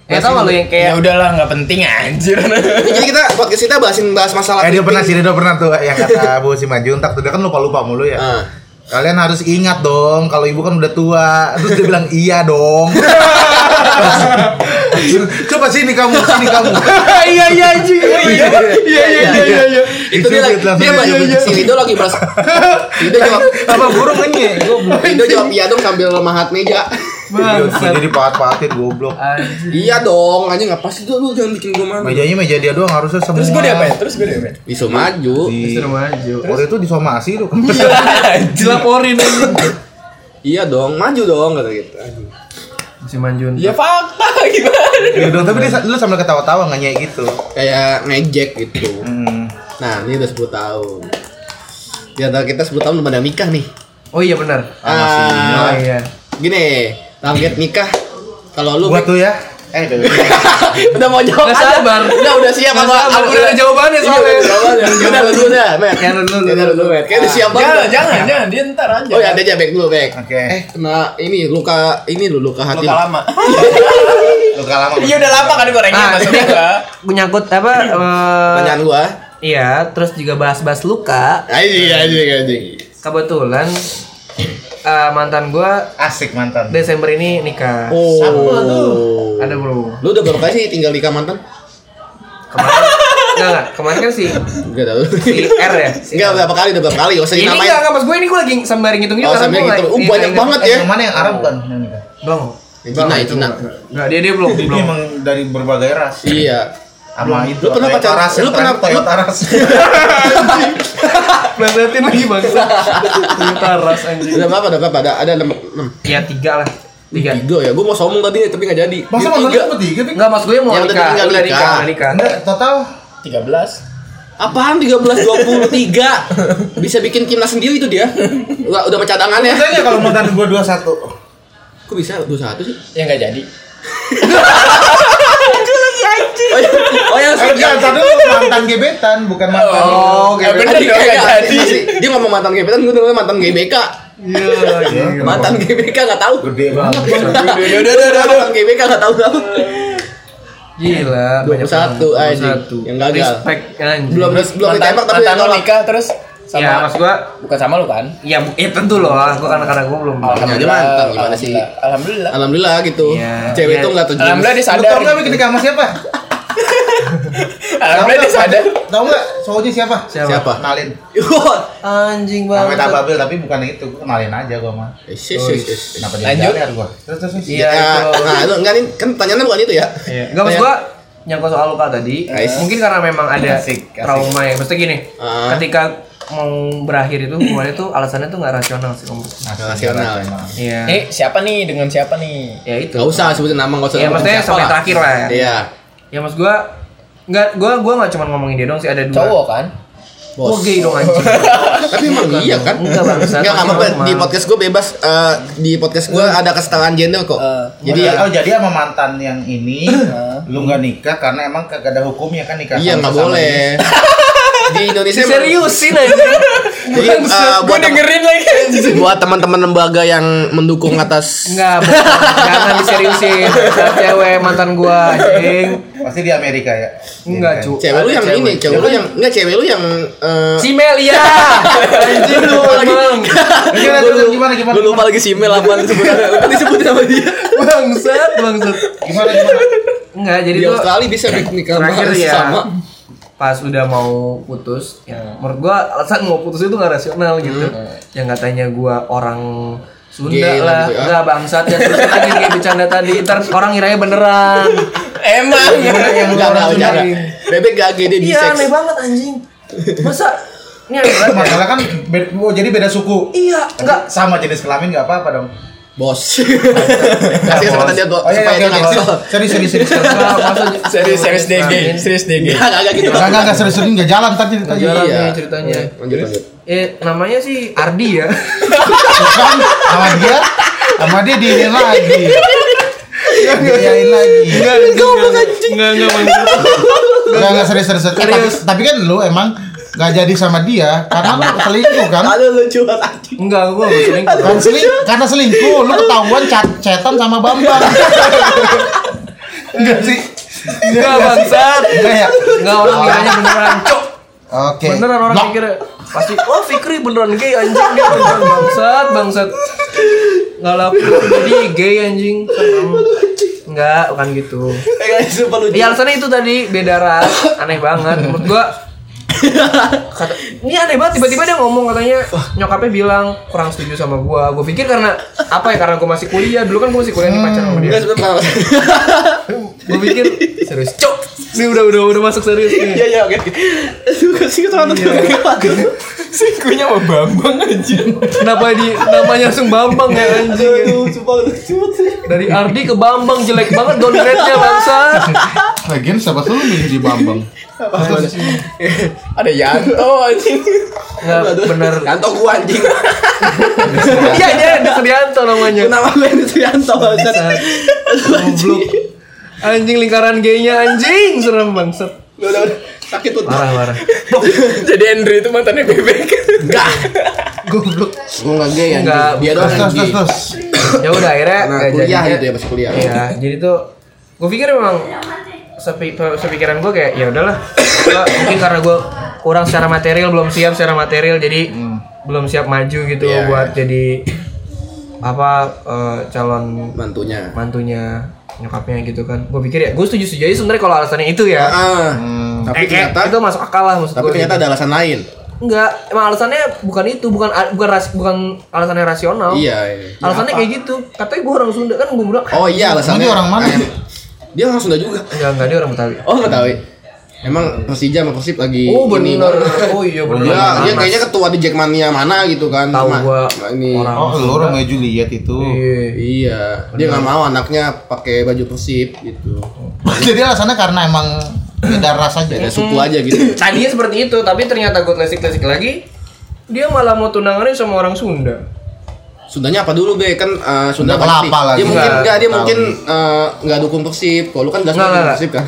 [SPEAKER 3] Ya tau gak lu yang
[SPEAKER 4] Ya
[SPEAKER 3] kayak
[SPEAKER 4] udahlah nggak penting anjir.
[SPEAKER 1] Jadi kita podcast kita bahasin bahas masalah
[SPEAKER 2] Eh dia pernah sih,
[SPEAKER 1] clipping.
[SPEAKER 2] dia pernah tuh yang kata Bu Simanjuntak tuh dia kan lupa-lupa mulu ya.
[SPEAKER 1] Ah.
[SPEAKER 2] Kalian harus ingat dong, kalau ibu kan udah tua. Terus dia bilang iya dong. Coba sini kamu, sini kamu.
[SPEAKER 3] iya iya anjing. Iya iya iya iya iya.
[SPEAKER 1] Itu dia lagi
[SPEAKER 2] Langsung
[SPEAKER 1] dia lagi
[SPEAKER 2] dicubit.
[SPEAKER 1] si Rido lagi bahas. Rido jawab
[SPEAKER 2] Apa kan? ya? burung ini? Goblok.
[SPEAKER 1] Rido jawab iya dong sambil mahat meja.
[SPEAKER 3] Bangsat.
[SPEAKER 2] Jadi pahat-pahatin goblok.
[SPEAKER 3] Anjing.
[SPEAKER 1] Iya dong, anjing apa sih tuh lu jangan bikin gue malu.
[SPEAKER 2] Mejanya meja dia doang harusnya semua.
[SPEAKER 4] Terus gue diapain? Terus gue diapain?
[SPEAKER 1] Bisa maju.
[SPEAKER 2] Di-
[SPEAKER 3] Disuruh maju.
[SPEAKER 2] Waktu itu disomasi Oh, tuh.
[SPEAKER 3] Dilaporin anjing.
[SPEAKER 1] Iya dong, maju dong kata gitu. Aduh.
[SPEAKER 3] Si Manjun.
[SPEAKER 4] Ya fakta gimana?
[SPEAKER 2] Iya dong, tapi dia, lu sambil ketawa-tawa nggak nyai gitu.
[SPEAKER 1] Kayak ngejek gitu.
[SPEAKER 2] Hmm.
[SPEAKER 1] Nah, ini udah 10 tahun. Di antara kita 10 tahun belum ada nikah nih.
[SPEAKER 3] Oh iya benar. Oh
[SPEAKER 1] Ah,
[SPEAKER 3] iya.
[SPEAKER 1] gini, target nikah kalau lu
[SPEAKER 2] Gua tuh ya. Eh,
[SPEAKER 1] udah mau jawab
[SPEAKER 3] Nggak
[SPEAKER 1] aja.
[SPEAKER 3] sabar.
[SPEAKER 1] Udah udah siap
[SPEAKER 3] Nggak
[SPEAKER 1] apa?
[SPEAKER 3] sabar. Udah ada jawabannya
[SPEAKER 1] Iya,
[SPEAKER 3] soalnya.
[SPEAKER 1] udah jawabannya. Udah lu udah, Matt.
[SPEAKER 3] Ya, lu dulu, lu
[SPEAKER 1] Udah, lu
[SPEAKER 3] dulu.
[SPEAKER 1] Matt. Kayaknya udah siap banget.
[SPEAKER 4] Jangan, jangan, jangan. iya, Dia ntar aja. kan.
[SPEAKER 1] Oh ya, ada aja back dulu, back.
[SPEAKER 2] Oke.
[SPEAKER 1] Eh, kena ini luka ini lu luka hati.
[SPEAKER 4] Luka lama.
[SPEAKER 2] Lu kalah
[SPEAKER 4] Iya udah lama kan gorengnya
[SPEAKER 3] Ah,
[SPEAKER 4] maksudnya gua.
[SPEAKER 3] Menyangkut apa? eh,
[SPEAKER 1] Pertanyaan gua.
[SPEAKER 3] Iya, terus juga bahas-bahas luka.
[SPEAKER 1] Anjing, anjing, anjing.
[SPEAKER 3] Kebetulan eh, mantan gua
[SPEAKER 2] Asik mantan.
[SPEAKER 3] Desember ini nikah.
[SPEAKER 1] Oh.
[SPEAKER 3] Ada bro.
[SPEAKER 1] Lu udah berapa kali sih tinggal nikah mantan?
[SPEAKER 3] Kemarin enggak, enggak. Kemarin kan si
[SPEAKER 1] Enggak tahu.
[SPEAKER 3] si R ya. Si
[SPEAKER 1] Enggak berapa kali udah berapa kali gak usah
[SPEAKER 3] ini
[SPEAKER 1] dinamain.
[SPEAKER 3] enggak, enggak pas gue ini gue lagi sambil ngitung gitu.
[SPEAKER 1] Oh, sambil ngitung. Uh, banyak banget
[SPEAKER 2] Eh,
[SPEAKER 1] ya.
[SPEAKER 2] yang mana yang Arab kan? Yang nikah?
[SPEAKER 3] Belum.
[SPEAKER 1] Yang Cina, yang Cina.
[SPEAKER 3] Enggak, dia dia belum,
[SPEAKER 2] Ini
[SPEAKER 3] belum.
[SPEAKER 2] emang dari berbagai ras.
[SPEAKER 1] Iya.
[SPEAKER 2] Sama itu.
[SPEAKER 1] Lu pernah
[SPEAKER 2] Toyota
[SPEAKER 1] pacaran-
[SPEAKER 2] Ras, yang
[SPEAKER 1] lu pernah-
[SPEAKER 2] terakhir Toyota Ras.
[SPEAKER 3] Belatin lagi bangsa. Ternyata ras anjing.
[SPEAKER 1] Udah berapa? Udah berapa? Ada ada 6.
[SPEAKER 3] Ya tiga lah. Tiga.
[SPEAKER 1] Tiga ya. Gua mau sombong tadi tapi enggak jadi.
[SPEAKER 2] Masa
[SPEAKER 1] Tiga.
[SPEAKER 2] mantan lu cuma tiga, Pik?
[SPEAKER 3] Enggak, mas gue mau
[SPEAKER 1] Yang udah
[SPEAKER 3] nikah. Udah nikah,
[SPEAKER 1] nikah.
[SPEAKER 3] udah nikah.
[SPEAKER 2] Enggak, total
[SPEAKER 4] 13.
[SPEAKER 1] Apaan 13 23? Bisa bikin timnas sendiri itu dia. Udah udah sama cadangannya.
[SPEAKER 2] Katanya kalau mantan gua 21
[SPEAKER 1] Kok bisa 21 sih?
[SPEAKER 4] Ya enggak jadi.
[SPEAKER 1] Oh, iya. oh yang
[SPEAKER 2] Eh, enggak, tadi lu mantan gebetan, bukan mantan
[SPEAKER 4] Oh, enggak
[SPEAKER 1] Tadi
[SPEAKER 4] bener dong
[SPEAKER 1] kagak.
[SPEAKER 4] enggak jadi.
[SPEAKER 1] Masih- Dia ngomong mantan gebetan, gue dengar mantan GBK.
[SPEAKER 2] Iya, iya.
[SPEAKER 1] Mantan GBK enggak tahu.
[SPEAKER 2] Gede banget
[SPEAKER 1] Udah udah udah Mantan GBK enggak tahu tahu.
[SPEAKER 3] Gila,
[SPEAKER 1] 21, anjing. Yang gagal.
[SPEAKER 3] Respect anjing.
[SPEAKER 1] Belum belum
[SPEAKER 4] Mantan,
[SPEAKER 1] ditembak tapi
[SPEAKER 4] mantan lu
[SPEAKER 1] ditolak.
[SPEAKER 4] nikah terus sama
[SPEAKER 3] Ya, mas gua
[SPEAKER 4] bukan sama lu kan?
[SPEAKER 3] Ya, bu- ya tentu loh, gua karena karena gua belum.
[SPEAKER 1] aja mantan, gimana sih?
[SPEAKER 4] Alhamdulillah.
[SPEAKER 1] Alhamdulillah gitu.
[SPEAKER 3] Iya.
[SPEAKER 1] Cewek
[SPEAKER 3] Iya.
[SPEAKER 1] tuh enggak tuh.
[SPEAKER 4] Alhamdulillah dia
[SPEAKER 2] Lu
[SPEAKER 4] sadar.
[SPEAKER 2] tau gak bikin nikah sama siapa? Tau
[SPEAKER 4] Alhamdulillah
[SPEAKER 2] nggak
[SPEAKER 4] dia sadar.
[SPEAKER 2] Tau gak cowoknya siapa?
[SPEAKER 1] Siapa?
[SPEAKER 3] Nah,
[SPEAKER 1] Nah,
[SPEAKER 2] Kenalin
[SPEAKER 3] iya, Anjing
[SPEAKER 2] Namanya
[SPEAKER 3] banget.
[SPEAKER 2] Tababil tapi bukan itu, gua kenalin aja gua mah
[SPEAKER 1] Eh, sis, sis, sis.
[SPEAKER 2] Kenapa dia
[SPEAKER 4] Lanjut.
[SPEAKER 2] jalan gua? Terus terus terus.
[SPEAKER 3] Iya,
[SPEAKER 1] Ya,
[SPEAKER 3] itu.
[SPEAKER 1] nah, itu enggak nih, kan pertanyaannya bukan itu ya.
[SPEAKER 3] Iya. Enggak maksud gua nyangkut soal luka tadi.
[SPEAKER 1] Guys.
[SPEAKER 3] Mungkin karena memang ada
[SPEAKER 2] Asik, asik.
[SPEAKER 3] trauma ya. Maksudnya gini,
[SPEAKER 1] Ah.
[SPEAKER 3] ketika mau berakhir itu hubungannya tuh alasannya tuh nggak rasional sih kamu.
[SPEAKER 2] Asli,
[SPEAKER 1] Nasional.
[SPEAKER 2] emang.
[SPEAKER 3] Iya.
[SPEAKER 4] Eh, siapa nih dengan siapa nih?
[SPEAKER 3] Ya itu.
[SPEAKER 1] Enggak usah sebutin nama, enggak usah.
[SPEAKER 3] Ya maksudnya
[SPEAKER 1] Siapa
[SPEAKER 3] sampai
[SPEAKER 1] lah.
[SPEAKER 3] terakhir lah. Ya,
[SPEAKER 1] Iya.
[SPEAKER 3] ya maksud gua Enggak, gua gua enggak cuma ngomongin dia dong sih ada dua.
[SPEAKER 4] Cowok kan?
[SPEAKER 3] Gua
[SPEAKER 1] Bos.
[SPEAKER 3] gay dong anjing.
[SPEAKER 1] Tapi emang iya kan?
[SPEAKER 3] Oh, gitu. Enggak, bangsat.
[SPEAKER 1] Enggak apa-apa
[SPEAKER 3] Normal.
[SPEAKER 1] di podcast gue bebas eh, di podcast gue
[SPEAKER 3] Iya.
[SPEAKER 1] ada kesetaraan gender kok.
[SPEAKER 4] Eh,
[SPEAKER 1] Jadi
[SPEAKER 2] Jadi oh jadi sama mantan yang ini lu nggak nikah karena emang kagak ada hukumnya kan nikah.
[SPEAKER 1] iya nggak
[SPEAKER 2] sama sesama
[SPEAKER 1] boleh. Di Indonesia emang-
[SPEAKER 3] Seriusin anjing.
[SPEAKER 1] Jadi eh,
[SPEAKER 4] Gua
[SPEAKER 1] buat tem-
[SPEAKER 4] dengerin lagi anjing.
[SPEAKER 1] buat teman-teman lembaga yang mendukung atas
[SPEAKER 3] Enggak, bukan. jangan diseriusin. Ada Cewek mantan gua anjing.
[SPEAKER 2] jenis. Pasti di Amerika ya.
[SPEAKER 3] Enggak,
[SPEAKER 2] Iya,
[SPEAKER 3] cu.
[SPEAKER 1] cewek lu
[SPEAKER 3] Ada
[SPEAKER 1] yang ini, cewek lu yang enggak cewek lu yang eh,
[SPEAKER 3] Si Melia. Anjing lu emang.
[SPEAKER 2] kan? Gimana
[SPEAKER 1] Gua
[SPEAKER 2] terus
[SPEAKER 1] lu-
[SPEAKER 2] gimana gimana?
[SPEAKER 1] Gua lupa lagi si Mel apa sebenarnya. Lu Tadi sebutin sama dia.
[SPEAKER 3] Bangsat, bangsat.
[SPEAKER 2] Gimana gimana?
[SPEAKER 3] Enggak, jadi
[SPEAKER 1] Di
[SPEAKER 3] tuh
[SPEAKER 1] Australia bisa bikin nikah
[SPEAKER 3] terakhir
[SPEAKER 1] mahal
[SPEAKER 3] ya.
[SPEAKER 1] Iya. sama.
[SPEAKER 3] pas udah mau Hmm. putus, ya menurut gua alasan mau putus itu nggak rasional gitu. Yang katanya gua orang Sunda
[SPEAKER 1] Gila
[SPEAKER 3] lah,
[SPEAKER 1] gitu ya.
[SPEAKER 3] enggak bangsat ya Sunda kayak bercanda tadi, ntar orang ngiranya beneran.
[SPEAKER 4] Emang.
[SPEAKER 1] Iya, yang enggak ada
[SPEAKER 3] orang
[SPEAKER 1] acara.
[SPEAKER 3] Sunda.
[SPEAKER 1] Iya, Bebek gak gede di
[SPEAKER 3] Iya
[SPEAKER 1] seks.
[SPEAKER 3] aneh banget anjing. Masa ini aneh banget.
[SPEAKER 2] Masalah kan be- oh, jadi beda suku.
[SPEAKER 3] Iya, enggak.
[SPEAKER 2] Sama jenis kelamin nggak apa-apa dong.
[SPEAKER 1] Bos. Kasih kesempatan dia buat
[SPEAKER 2] Oh iya,
[SPEAKER 1] supaya
[SPEAKER 2] oke,
[SPEAKER 1] dia
[SPEAKER 2] oke.
[SPEAKER 1] nggak salah.
[SPEAKER 2] Serius, serius, serius.
[SPEAKER 3] Enggak, maksudnya
[SPEAKER 4] Serius, serius DG, serius DG.
[SPEAKER 1] Enggak enggak gitu.
[SPEAKER 2] Enggak, enggak, serius, serius. Nggak jalan tadi ceritanya.
[SPEAKER 3] Jalan
[SPEAKER 1] Iya.
[SPEAKER 3] nih ceritanya.
[SPEAKER 1] Lanjut lanjut.
[SPEAKER 3] Eh namanya sih Ardi ya.
[SPEAKER 2] Terus kan, sama dia, sama dia diinin lagi. Diinin lagi.
[SPEAKER 6] Enggak, enggak, enggak.
[SPEAKER 2] Enggak, enggak, serius, serius. serius. Eh, tapi, tapi kan lu emang nggak jadi sama dia karena lu selingkuh kan?
[SPEAKER 1] Ada lucu banget anjing.
[SPEAKER 3] Enggak, gua enggak selingkuh.
[SPEAKER 2] Kan seling, karena selingkuh, lu ketahuan cat cetan sama Bambang. Enggak sih.
[SPEAKER 3] Enggak bangsat.
[SPEAKER 2] Enggak ya.
[SPEAKER 3] Enggak orang ngiranya beneran. Cok,
[SPEAKER 2] Oke.
[SPEAKER 3] beneran orang
[SPEAKER 2] Blok.
[SPEAKER 3] mikir pasti oh Fikri beneran gay anjing dia beneran bangsat bangsat. Enggak lah, jadi gay anjing. Enggak, bukan gitu.
[SPEAKER 1] Eh guys, sumpah lucu.
[SPEAKER 3] Iya alasannya itu tadi beda ras, aneh banget menurut gua. Kata, ini aneh banget tiba-tiba dia ngomong katanya nyokapnya bilang kurang setuju sama gua. Gua pikir karena apa ya karena gua masih kuliah dulu kan gua masih kuliah nih pacaran sama dia.
[SPEAKER 1] Guys, sebentar. Hmm.
[SPEAKER 3] Gua pikir serius cok. Ini udah udah udah masuk serius nih.
[SPEAKER 1] Iya iya oke. Aduh, gitu, kasih kesempatan
[SPEAKER 2] Iya.
[SPEAKER 1] dia.
[SPEAKER 4] Sikunya sama Bambang aja.
[SPEAKER 3] Kenapa di namanya langsung Bambang ya anjing?
[SPEAKER 1] Aduh, sumpah lucu banget.
[SPEAKER 3] Dari Ardi ke Bambang jelek banget downgrade-nya bangsa.
[SPEAKER 2] Lagian siapa sih lu milih di Bambang?
[SPEAKER 4] Ada Yanto anjing.
[SPEAKER 2] Iya,
[SPEAKER 3] Enggak bener.
[SPEAKER 1] Kantor gua anjing.
[SPEAKER 3] Iya dia ada Serianto namanya.
[SPEAKER 1] Kenapa gue yang Trianto bangsat? Aduh, anjing.
[SPEAKER 3] Anjing lingkaran gaynya anjing serem bangsat.
[SPEAKER 1] Udah udah, udah. sakit tuh.
[SPEAKER 3] Parah parah.
[SPEAKER 4] Jadi Andrew itu mantannya bebek.
[SPEAKER 1] Enggak.
[SPEAKER 3] Goblok.
[SPEAKER 1] Gua enggak gay anjing.
[SPEAKER 3] Enggak.
[SPEAKER 1] Dia doang
[SPEAKER 2] Terus, terus, terus,
[SPEAKER 1] anjing.
[SPEAKER 2] terus.
[SPEAKER 3] Ya udah akhirnya
[SPEAKER 1] Karena
[SPEAKER 3] nggak
[SPEAKER 1] kuliah
[SPEAKER 3] jadinya.
[SPEAKER 1] gitu ya, pas kuliah.
[SPEAKER 3] Iya, jadi tuh gue pikir memang sepi, sepikiran gue kayak ya udahlah. Gua- mungkin karena gue kurang secara material belum siap secara material jadi belum siap maju gitu
[SPEAKER 1] Hmm. Iya,
[SPEAKER 3] buat jadi apa eh, calon
[SPEAKER 1] Mantunya.
[SPEAKER 3] mantunya nyokapnya gitu kan gue pikir ya gue setuju setuju aja sebenarnya kalau alasannya itu ya
[SPEAKER 1] Ah.
[SPEAKER 2] Hmm.
[SPEAKER 1] Tapi
[SPEAKER 3] Eh, kayak
[SPEAKER 1] ternyata
[SPEAKER 3] itu masuk akal lah maksud
[SPEAKER 1] tapi
[SPEAKER 3] gua. gitu.
[SPEAKER 1] ternyata ada alasan lain.
[SPEAKER 3] enggak emang alasannya bukan itu bukan bukan ras, bukan alasannya rasional
[SPEAKER 1] Iya, iya.
[SPEAKER 3] Oh. alasannya kayak gitu katanya gue orang Sunda kan gue bilang
[SPEAKER 1] Oh iya alasannya.
[SPEAKER 2] Ini orang mana?
[SPEAKER 1] Em- Dia orang Sunda juga.
[SPEAKER 3] enggak enggak Ya, dia orang Betawi
[SPEAKER 1] Oh nggak tahu. Emang Persija sama Persib lagi
[SPEAKER 3] Oh
[SPEAKER 1] ini.
[SPEAKER 3] benar. Oh iya benar.
[SPEAKER 1] Dia, dia kayaknya kan- ketua di Jackmania mana gitu kan.
[SPEAKER 3] Tahu
[SPEAKER 1] Sama-
[SPEAKER 3] gua
[SPEAKER 1] sama ini.
[SPEAKER 3] orang.
[SPEAKER 2] Oh, lu Romeo Juliet itu.
[SPEAKER 3] Iya.
[SPEAKER 1] Iya, dia nggak mau anaknya pakai baju Persib gitu.
[SPEAKER 2] Jadi alasannya karena emang beda ras aja. ya.
[SPEAKER 3] Hmm.
[SPEAKER 1] Beda suku aja gitu.
[SPEAKER 3] Tadinya seperti itu, tapi ternyata gue lesik-lesik lagi. Dia malah mau tunangannya sama orang Sunda.
[SPEAKER 1] Sundanya apa dulu be kan eh, Sunda
[SPEAKER 2] Nggak
[SPEAKER 1] pasti.
[SPEAKER 2] kelapa lagi.
[SPEAKER 1] Dia mungkin
[SPEAKER 3] Nggak,
[SPEAKER 1] enggak dia
[SPEAKER 2] tahu.
[SPEAKER 1] mungkin eh, nggak dukung Persib. Kalau lu kan nggak
[SPEAKER 3] Nggak,
[SPEAKER 1] suka dukung
[SPEAKER 3] nggak,
[SPEAKER 1] Persib kan.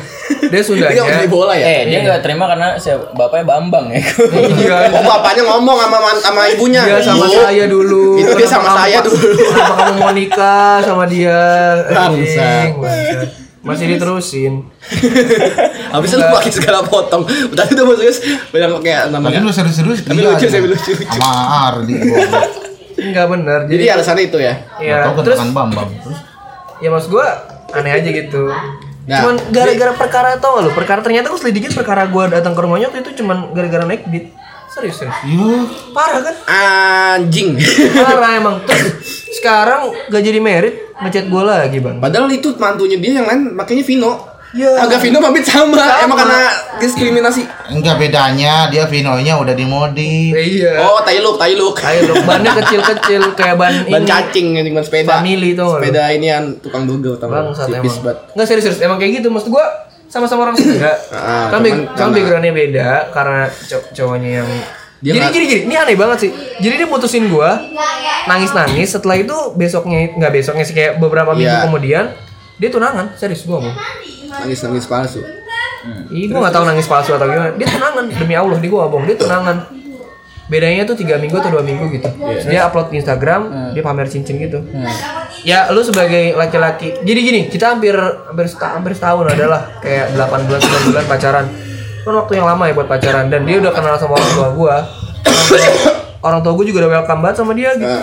[SPEAKER 3] Dia Sundanya-
[SPEAKER 1] Dia nggak peduli bola ya.
[SPEAKER 4] Eh, dia nggak terima karena siapa- bapaknya Bambang ya.
[SPEAKER 3] Iya.
[SPEAKER 1] Oh bapaknya ngomong sama sama ibunya.
[SPEAKER 3] Dia sama
[SPEAKER 1] Ibu,
[SPEAKER 3] saya dulu.
[SPEAKER 1] Iya. Itu dia
[SPEAKER 3] Kenapa
[SPEAKER 1] sama
[SPEAKER 3] kamu-
[SPEAKER 1] saya dulu.
[SPEAKER 3] Kenapa kamu mau nikah sama dia?
[SPEAKER 1] Bangsat.
[SPEAKER 3] Anjing, bangsat. Masih diterusin.
[SPEAKER 1] Habis itu lu pakai segala potong. Tadi udah masuknya banyak kayak
[SPEAKER 2] Tapi lu
[SPEAKER 1] namanya.
[SPEAKER 2] serius-serius
[SPEAKER 1] Tapi
[SPEAKER 2] gila
[SPEAKER 1] lucu
[SPEAKER 2] aja.
[SPEAKER 1] sih, lucu, lucu.
[SPEAKER 2] Sama Ardi. goblok.
[SPEAKER 3] Enggak benar. Jadi,
[SPEAKER 1] Jadi alasannya itu ya.
[SPEAKER 3] ya,
[SPEAKER 2] Nggak Tahu
[SPEAKER 3] terus
[SPEAKER 2] kan Bambang. Terus
[SPEAKER 3] ya maksud gue aneh aja gitu.
[SPEAKER 1] Nah,
[SPEAKER 3] cuman gara-gara perkara tau gak lu perkara ternyata gue selidikin perkara gue datang ke rumahnya waktu itu cuman gara-gara naik beat serius serius
[SPEAKER 1] Iya.
[SPEAKER 2] Yuh,
[SPEAKER 3] parah kan
[SPEAKER 1] Anjing.
[SPEAKER 3] parah emang terus sekarang gak jadi merit ngechat gue lagi bang
[SPEAKER 1] Padahal itu mantunya dia yang lain makanya Vino.
[SPEAKER 3] Iya.
[SPEAKER 1] Agak Vino mampir sama. Emang karena diskriminasi.
[SPEAKER 2] enggak bedanya dia vinonya udah dimodif.
[SPEAKER 3] iya
[SPEAKER 1] Oh, tai look, tai look.
[SPEAKER 3] ayo dong bannya kecil-kecil kayak ban ini
[SPEAKER 1] Ban cacing anjing ban sepeda.
[SPEAKER 3] family tau gak lu
[SPEAKER 1] Sepeda ini yang tukang dugel tau
[SPEAKER 3] bang
[SPEAKER 1] gak?
[SPEAKER 3] saat
[SPEAKER 1] Tipis
[SPEAKER 3] emang
[SPEAKER 1] banget.
[SPEAKER 3] nggak serius serius emang kayak gitu maksud gue sama-sama orang Sunda
[SPEAKER 1] Ah,
[SPEAKER 3] kan
[SPEAKER 1] cuman
[SPEAKER 3] big- cuman
[SPEAKER 1] karena-
[SPEAKER 3] backgroundnya beda karena cow- cowoknya yang
[SPEAKER 1] Dia
[SPEAKER 3] jadi
[SPEAKER 1] nggak-
[SPEAKER 3] gini gini ini aneh banget sih jadi dia mutusin gue nangis nangis setelah itu besoknya nggak besoknya sih kayak beberapa minggu
[SPEAKER 1] Iya.
[SPEAKER 3] kemudian dia tunangan serius gue mau
[SPEAKER 1] Nangis-nangis palsu.
[SPEAKER 3] Ih, gue nggak tahu nangis palsu atau gimana. Dia tunangan demi Allah, di gue nggak bohong. Dia tunangan. Bedanya tuh tiga minggu atau dua minggu gitu. Dia upload di Instagram, dia pamer cincin gitu. Ya, lu sebagai laki-laki. Jadi gini, kita hampir hampir, seta- hampir setahun adalah kayak 8 bulan 9 bulan pacaran. Kan waktu yang lama ya buat pacaran dan dia udah kenal sama orang tua gue. Orang tua gue juga udah welcome banget sama dia gitu.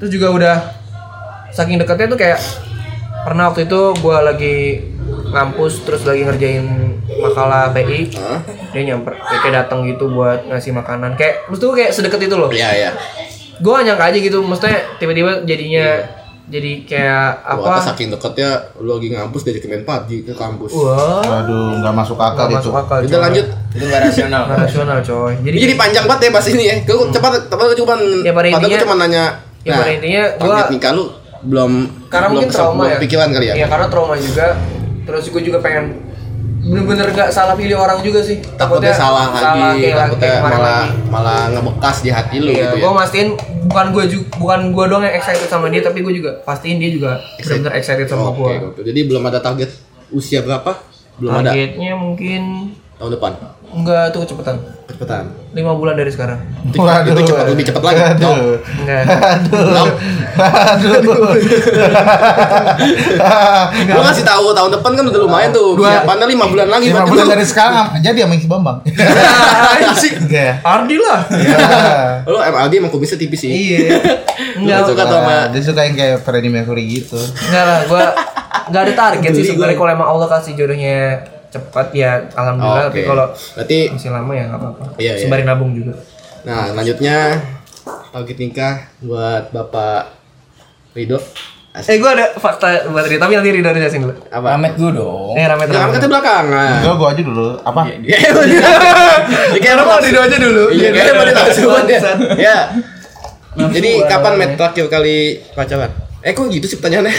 [SPEAKER 3] Terus juga udah saking deketnya tuh kayak pernah waktu itu gua lagi ngampus terus lagi ngerjain makalah PI dia nyamper kayak, kayak datang gitu buat ngasih makanan kayak maksud gua kayak sedekat itu loh
[SPEAKER 1] Iya, iya.
[SPEAKER 3] gue gak nyangka aja gitu maksudnya tiba-tiba jadinya jadi kayak apa
[SPEAKER 1] Apa? saking deketnya lu lagi ngampus dia jadi pagi ke kampus.
[SPEAKER 3] wah
[SPEAKER 2] Aduh, nggak masuk akal
[SPEAKER 3] gak
[SPEAKER 2] itu.
[SPEAKER 3] masuk akal
[SPEAKER 1] Udah
[SPEAKER 3] coy.
[SPEAKER 1] lanjut.
[SPEAKER 4] Itu nggak rasional.
[SPEAKER 3] Nggak rasional coy jadi,
[SPEAKER 1] Ini jadi panjang banget ya pas ini ya. Gue cepat, tapi gue cuma,
[SPEAKER 3] Hmm. Ya, pada
[SPEAKER 1] padahal gue
[SPEAKER 3] intinya-
[SPEAKER 1] cuma nanya. "Nah,
[SPEAKER 3] ya pada intinya gua-
[SPEAKER 1] target nikah lu belum
[SPEAKER 3] karena
[SPEAKER 1] belum
[SPEAKER 3] mungkin
[SPEAKER 1] kesel-
[SPEAKER 3] trauma
[SPEAKER 1] belum
[SPEAKER 3] ya
[SPEAKER 1] pikiran kali ya.
[SPEAKER 3] iya karena trauma juga terus gue juga pengen bener-bener gak salah pilih orang juga sih
[SPEAKER 1] takutnya salah lagi,
[SPEAKER 3] kayak,
[SPEAKER 1] takutnya
[SPEAKER 3] kayak kemarin
[SPEAKER 1] malah
[SPEAKER 3] lagi.
[SPEAKER 1] malah ngebekas di hati lu
[SPEAKER 3] Iya,
[SPEAKER 1] gitu ya.
[SPEAKER 3] gue mastiin bukan gue juga bukan gue doang yang excited sama dia, tapi gue juga pastiin dia juga benar-benar excited sama
[SPEAKER 1] Oke,
[SPEAKER 3] gue.
[SPEAKER 1] oke. Jadi belum ada target usia berapa? Belum ada
[SPEAKER 3] Targetnya mungkin
[SPEAKER 1] tahun depan.
[SPEAKER 3] enggak tuh kecepatan.
[SPEAKER 1] Cepetan.
[SPEAKER 3] Lima bulan dari sekarang.
[SPEAKER 1] Itu, itu gitu, cepat lebih cepat lagi. Dong.
[SPEAKER 2] Aduh.
[SPEAKER 3] Enggak.
[SPEAKER 1] Dong.
[SPEAKER 2] Aduh.
[SPEAKER 1] Gua ngasih tahu tahun depan kan udah lumayan tuh. Siapannya lima bulan lagi.
[SPEAKER 2] Lima
[SPEAKER 1] berarti
[SPEAKER 2] bulan
[SPEAKER 1] lu-
[SPEAKER 2] dari sekarang jadi sama si Bambang.
[SPEAKER 1] Asik.
[SPEAKER 2] Enggak ya?
[SPEAKER 3] Ardi lah.
[SPEAKER 2] Ya.
[SPEAKER 1] Lu MLD emang kumisnya tipis sih.
[SPEAKER 3] Iya.
[SPEAKER 1] Enggak
[SPEAKER 3] Enggak.
[SPEAKER 1] suka tuh sama
[SPEAKER 2] Nah, dia suka yang kayak Freddie Mercury gitu.
[SPEAKER 3] Enggak lah, gue enggak ada target sih sebenarnya kalau emang Allah kasih jodohnya cepat ya alhamdulillah
[SPEAKER 1] Oh,
[SPEAKER 3] tapi
[SPEAKER 1] Oke.
[SPEAKER 3] kalau
[SPEAKER 1] berarti
[SPEAKER 3] masih lama ya nggak apa-apa.
[SPEAKER 1] Iya, iya.
[SPEAKER 3] Sembari nabung juga.
[SPEAKER 1] nah lanjutnya target nikah buat Bapak Ridho. Asik.
[SPEAKER 3] Eh gue ada fakta buat Rita, tapi nanti Rida jelasin dulu.
[SPEAKER 1] Apa?
[SPEAKER 4] Pamet gue
[SPEAKER 1] Oh.
[SPEAKER 4] dong.
[SPEAKER 3] Eh rame
[SPEAKER 1] Jangan kata
[SPEAKER 3] terang.
[SPEAKER 1] belakangan.
[SPEAKER 2] Gua gua aja dulu. Apa?
[SPEAKER 1] Ya, ya, kayak orang
[SPEAKER 3] Rido aja dulu.
[SPEAKER 1] Iya, kayaknya pada langsung ya.
[SPEAKER 3] Bangsat.
[SPEAKER 1] Ya. Jadi kapan met terakhir kali pacaran? Eh kok gitu sih pertanyaannya?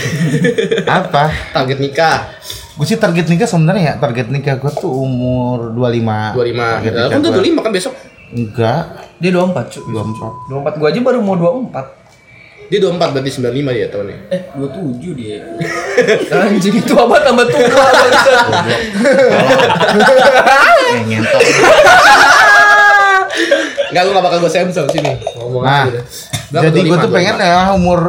[SPEAKER 2] Apa?
[SPEAKER 1] Target nikah
[SPEAKER 2] Gue sih target nikah sebenarnya ya. Target nikah gua tuh umur 25.
[SPEAKER 1] 25.
[SPEAKER 2] Target
[SPEAKER 1] Lah,
[SPEAKER 2] nikah
[SPEAKER 1] Kan tuh
[SPEAKER 2] gua.
[SPEAKER 1] 25 kan besok.
[SPEAKER 2] Enggak.
[SPEAKER 3] Dia 24 cuy.
[SPEAKER 2] 24.
[SPEAKER 3] 24 gua aja baru mau 24.
[SPEAKER 1] Dia 24 berarti 95 dia tahunnya.
[SPEAKER 4] Eh, 27 dia.
[SPEAKER 3] Anjing itu apa tambah tua bangsat.
[SPEAKER 2] Eh, ngentot.
[SPEAKER 1] Enggak lu enggak bakal gue Samsung sini. Ngomong
[SPEAKER 2] Nah,
[SPEAKER 1] aja udah. Berapa,
[SPEAKER 2] jadi gue
[SPEAKER 1] 25,
[SPEAKER 2] tuh pengen
[SPEAKER 1] 25?
[SPEAKER 2] ya umur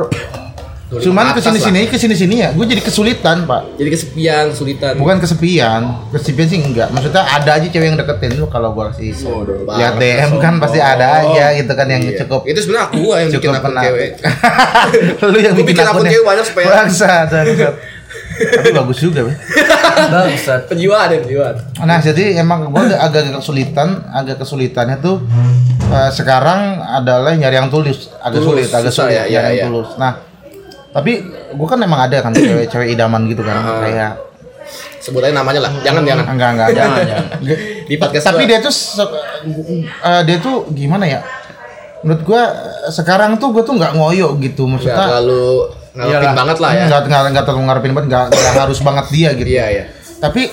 [SPEAKER 1] 25
[SPEAKER 2] cuman
[SPEAKER 1] atas
[SPEAKER 2] kesini sini
[SPEAKER 1] lah.
[SPEAKER 2] kesini sini ya gue jadi kesulitan pak
[SPEAKER 1] Jadi kesepian, kesulitan.
[SPEAKER 2] bukan kesepian kesepian sih enggak maksudnya ada aja cewek yang deketin lu kalau gue sih
[SPEAKER 1] Bodoh
[SPEAKER 2] lihat
[SPEAKER 1] banget,
[SPEAKER 2] DM kan pasti ada aja gitu kan yang
[SPEAKER 1] Iya.
[SPEAKER 2] cukup
[SPEAKER 1] Itu sebenarnya aku yang bikin
[SPEAKER 2] cukup
[SPEAKER 1] akun
[SPEAKER 2] pernah
[SPEAKER 1] cewek.
[SPEAKER 2] lu yang
[SPEAKER 1] Gua
[SPEAKER 2] bikin,
[SPEAKER 1] bikin akun
[SPEAKER 2] akunnya.
[SPEAKER 1] cewek banyak supaya-
[SPEAKER 2] Bangsa, bangsat. tapi bagus juga Be.
[SPEAKER 3] Bangsat.
[SPEAKER 1] Penjiwaan ya, penjiwaan.
[SPEAKER 2] Nah, jadi emang gue agak kesulitan, agak kesulitannya tuh eh, sekarang adalah nyari yang tulus, agak
[SPEAKER 1] Tulus,
[SPEAKER 2] sulit, agak
[SPEAKER 1] susah
[SPEAKER 2] sulit
[SPEAKER 1] ya,
[SPEAKER 2] nyari
[SPEAKER 1] iya,
[SPEAKER 2] yang
[SPEAKER 1] iya.
[SPEAKER 2] tulus. Nah, tapi gue kan emang ada kan cewek-cewek idaman gitu kan,
[SPEAKER 1] Ah.
[SPEAKER 2] kayak
[SPEAKER 1] Sebut aja namanya lah. Jangan jangan.
[SPEAKER 2] enggak enggak ada.
[SPEAKER 1] Di podcast
[SPEAKER 2] Tapi
[SPEAKER 1] gua.
[SPEAKER 2] dia tuh se- eh, dia tuh gimana ya? Menurut gue sekarang tuh gue tuh nggak ngoyo gitu,
[SPEAKER 1] Enggak
[SPEAKER 2] maksudnya
[SPEAKER 1] terlalu ngalapin banget lah ya.
[SPEAKER 2] nggak nggak nggak terlalu ngarepin banget, nggak nggak harus banget dia gitu.
[SPEAKER 1] Iya, iya.
[SPEAKER 2] tapi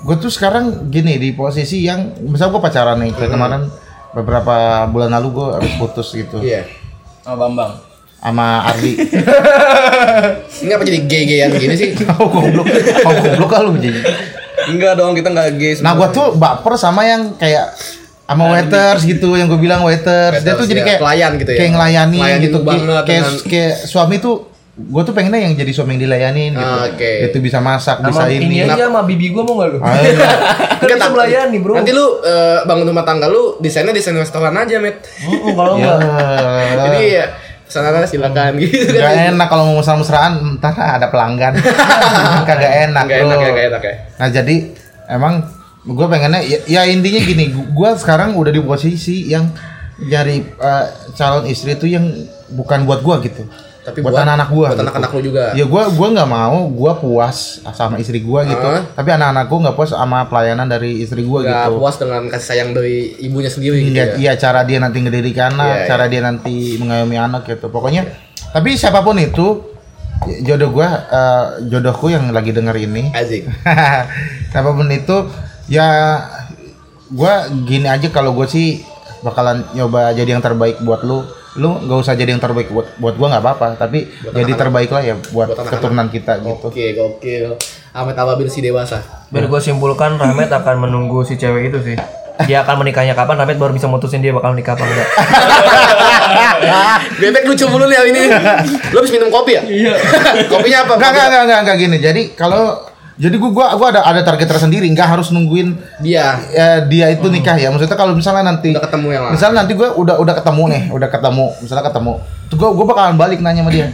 [SPEAKER 2] gue tuh sekarang gini di posisi yang misal gue pacaran nih
[SPEAKER 1] Hmm.
[SPEAKER 2] kayak kemarin beberapa bulan lalu gue habis putus gitu
[SPEAKER 1] Iya.
[SPEAKER 4] Sama Oh, Bambang.
[SPEAKER 2] sama Ardi
[SPEAKER 1] Ini apa jadi gay-gayan gini sih?
[SPEAKER 2] oh goblok oh goblok kan lu jadi
[SPEAKER 1] Enggak dong, kita enggak gay. Nah,
[SPEAKER 2] nah gue tuh baper sama yang kayak sama waiters gitu yang gue bilang waiters, dia
[SPEAKER 1] Waiters,
[SPEAKER 2] tuh jadi
[SPEAKER 1] ya,
[SPEAKER 2] kayak
[SPEAKER 1] pelayan gitu ya.
[SPEAKER 2] kayak ngelayani
[SPEAKER 1] Ngelayanin
[SPEAKER 2] gitu
[SPEAKER 1] banget
[SPEAKER 2] kayak kayak,
[SPEAKER 1] dengan-
[SPEAKER 2] kayak suami tuh gue tuh pengennya yang jadi suami yang dilayanin gitu
[SPEAKER 1] Ah, oke.
[SPEAKER 2] Dia tuh bisa masak bisa
[SPEAKER 3] Sama ya. ini
[SPEAKER 2] ini
[SPEAKER 3] aja sama bibi gua mau enggak lu?
[SPEAKER 2] Ayo.
[SPEAKER 3] Kan bisa melayani, Bro.
[SPEAKER 1] Nanti lu eh, bangun rumah tangga lu desainnya desain restoran aja, Met.
[SPEAKER 3] Mm-mm, kalau
[SPEAKER 1] Iya.
[SPEAKER 2] Ya.
[SPEAKER 3] enggak
[SPEAKER 1] Jadi ya pesanan silakan gitu
[SPEAKER 2] Gak
[SPEAKER 1] kan.
[SPEAKER 2] enak kalau mau mesra-mesraan, entar ada pelanggan. Kagak enak,
[SPEAKER 1] Enggak
[SPEAKER 2] bro.
[SPEAKER 1] enak ya, enggak enak ya.
[SPEAKER 2] Nah, jadi emang gue pengennya ya, ya intinya gini, gue sekarang udah di posisi yang nyari eh, calon istri itu yang bukan buat gue gitu.
[SPEAKER 1] Tapi
[SPEAKER 2] buat
[SPEAKER 1] buat-
[SPEAKER 2] anak-anak gue.
[SPEAKER 1] buat anak-anak lu juga.
[SPEAKER 2] Ya gue gua nggak mau, gue puas sama istri gue gitu.
[SPEAKER 1] Ah.
[SPEAKER 2] Tapi anak-anak gue nggak puas sama pelayanan dari istri gue
[SPEAKER 1] Enggak
[SPEAKER 2] gitu.
[SPEAKER 1] puas dengan kasih sayang dari ibunya sendiri gitu
[SPEAKER 2] Iya,
[SPEAKER 1] ya.
[SPEAKER 2] iya cara dia nanti ngedidik
[SPEAKER 1] Iya,
[SPEAKER 2] anak, cara dia nanti mengayomi anak gitu. Pokoknya tapi siapapun itu jodoh gua eh, jodohku yang lagi denger ini.
[SPEAKER 1] Asik.
[SPEAKER 2] siapapun itu ya gua gini aja kalau gue sih bakalan nyoba jadi yang terbaik buat lu. Lu nggak usah jadi yang terbaik buat buat gua nggak apa-apa, tapi jadi terbaik lah ya buat,
[SPEAKER 1] Buat anak-anak.
[SPEAKER 2] keturunan kita gitu.
[SPEAKER 1] Oke, gokil. Ahmed Ababil si dewasa.
[SPEAKER 3] biar gua simpulkan Ramet akan menunggu si cewek itu sih. Dia akan menikahnya kapan Ramet baru bisa mutusin dia bakal nikah apa enggak.
[SPEAKER 1] Bebek lucu mulu nih hari ini. Lu habis minum kopi ya? Iya. Kopinya apa?
[SPEAKER 2] Enggak, enggak, enggak, enggak, enggak gini. Jadi kalau jadi gua gua gua ada ada target tersendiri, nggak harus nungguin
[SPEAKER 1] Dia.
[SPEAKER 2] ya, dia itu nikah ya maksudnya kalau misalnya nanti
[SPEAKER 1] Hmm. Udah ketemu ya, yang lain.
[SPEAKER 2] misalnya nanti gue udah udah ketemu nih udah ketemu misalnya ketemu tuh gue gue bakalan balik nanya sama dia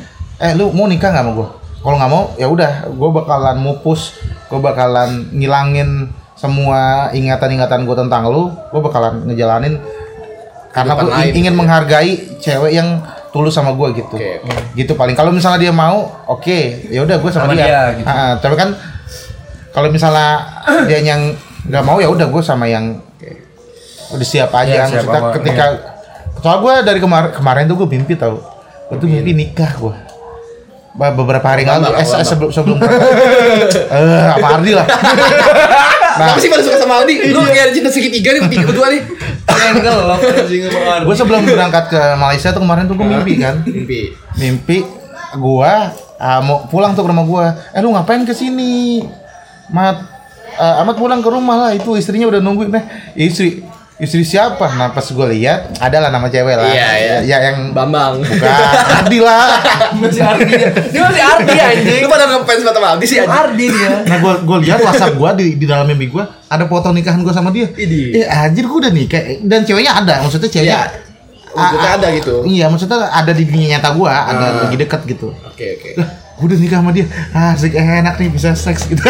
[SPEAKER 2] eh lu mau nikah nggak sama gue kalau nggak mau ya udah gue bakalan mupus gue bakalan ngilangin semua ingatan-ingatan gue tentang lu gue bakalan ngejalanin karena aku
[SPEAKER 1] Kehidupan
[SPEAKER 2] in-
[SPEAKER 1] lain
[SPEAKER 2] ingin
[SPEAKER 1] gitu ya.
[SPEAKER 2] menghargai cewek yang tulus sama gue gitu
[SPEAKER 1] Oke, oke.
[SPEAKER 2] gitu paling kalau misalnya dia mau oke ya udah gue sama,
[SPEAKER 3] Sama
[SPEAKER 2] dia,
[SPEAKER 3] dia, gitu.
[SPEAKER 2] Ah, ah, tapi kan kalau misalnya dia yang nggak mau ya udah gue sama yang udah siap aja
[SPEAKER 3] Iya, siap
[SPEAKER 2] Maksudnya
[SPEAKER 3] apa,
[SPEAKER 2] ketika soal gue dari kemar- kemarin tuh gue mimpi tau gue tuh mimpi nikah gue beberapa hari yang lalu
[SPEAKER 1] Lama,
[SPEAKER 2] eh, se-
[SPEAKER 1] lama.
[SPEAKER 2] sebelum sebelum eh apa Ardi lah Nah,
[SPEAKER 1] Kenapa sih pada suka sama Aldi? Lu kayak cinta segi tiga nih, tiga berdua nih.
[SPEAKER 6] Ngelok anjing sama Ardi.
[SPEAKER 2] gue sebelum berangkat ke Malaysia tuh kemarin tuh gue mimpi kan
[SPEAKER 1] Mimpi.
[SPEAKER 2] mimpi gua ah, mau pulang tuh ke rumah gua eh lu ngapain kesini mat eh, amat pulang ke rumah lah itu istrinya udah nungguin eh istri istri siapa nah pas gua lihat adalah nama cewek lah
[SPEAKER 1] Iya, iya.
[SPEAKER 2] ya yang
[SPEAKER 1] Bambang.
[SPEAKER 2] bukan Ardi lah
[SPEAKER 3] Masih Ardi dia. Dia masih Ardi anjing.
[SPEAKER 1] Lu pada ngefans sama Aldi sih anjing.
[SPEAKER 3] Ardi dia.
[SPEAKER 2] nah gua gua lihat WhatsApp gua di di dalam mimpi gua ada foto nikahan gua sama dia
[SPEAKER 1] Idi.
[SPEAKER 2] eh anjir gua udah nikah Eh, dan ceweknya ada maksudnya ceweknya
[SPEAKER 1] Iya. Maksudnya ada gitu.
[SPEAKER 2] iya maksudnya ada di dunia nyata gua ada
[SPEAKER 1] Ah.
[SPEAKER 2] lagi deket gitu
[SPEAKER 1] Oke, oke.
[SPEAKER 2] lah gue udah nikah sama dia ah asik enak nih bisa seks gitu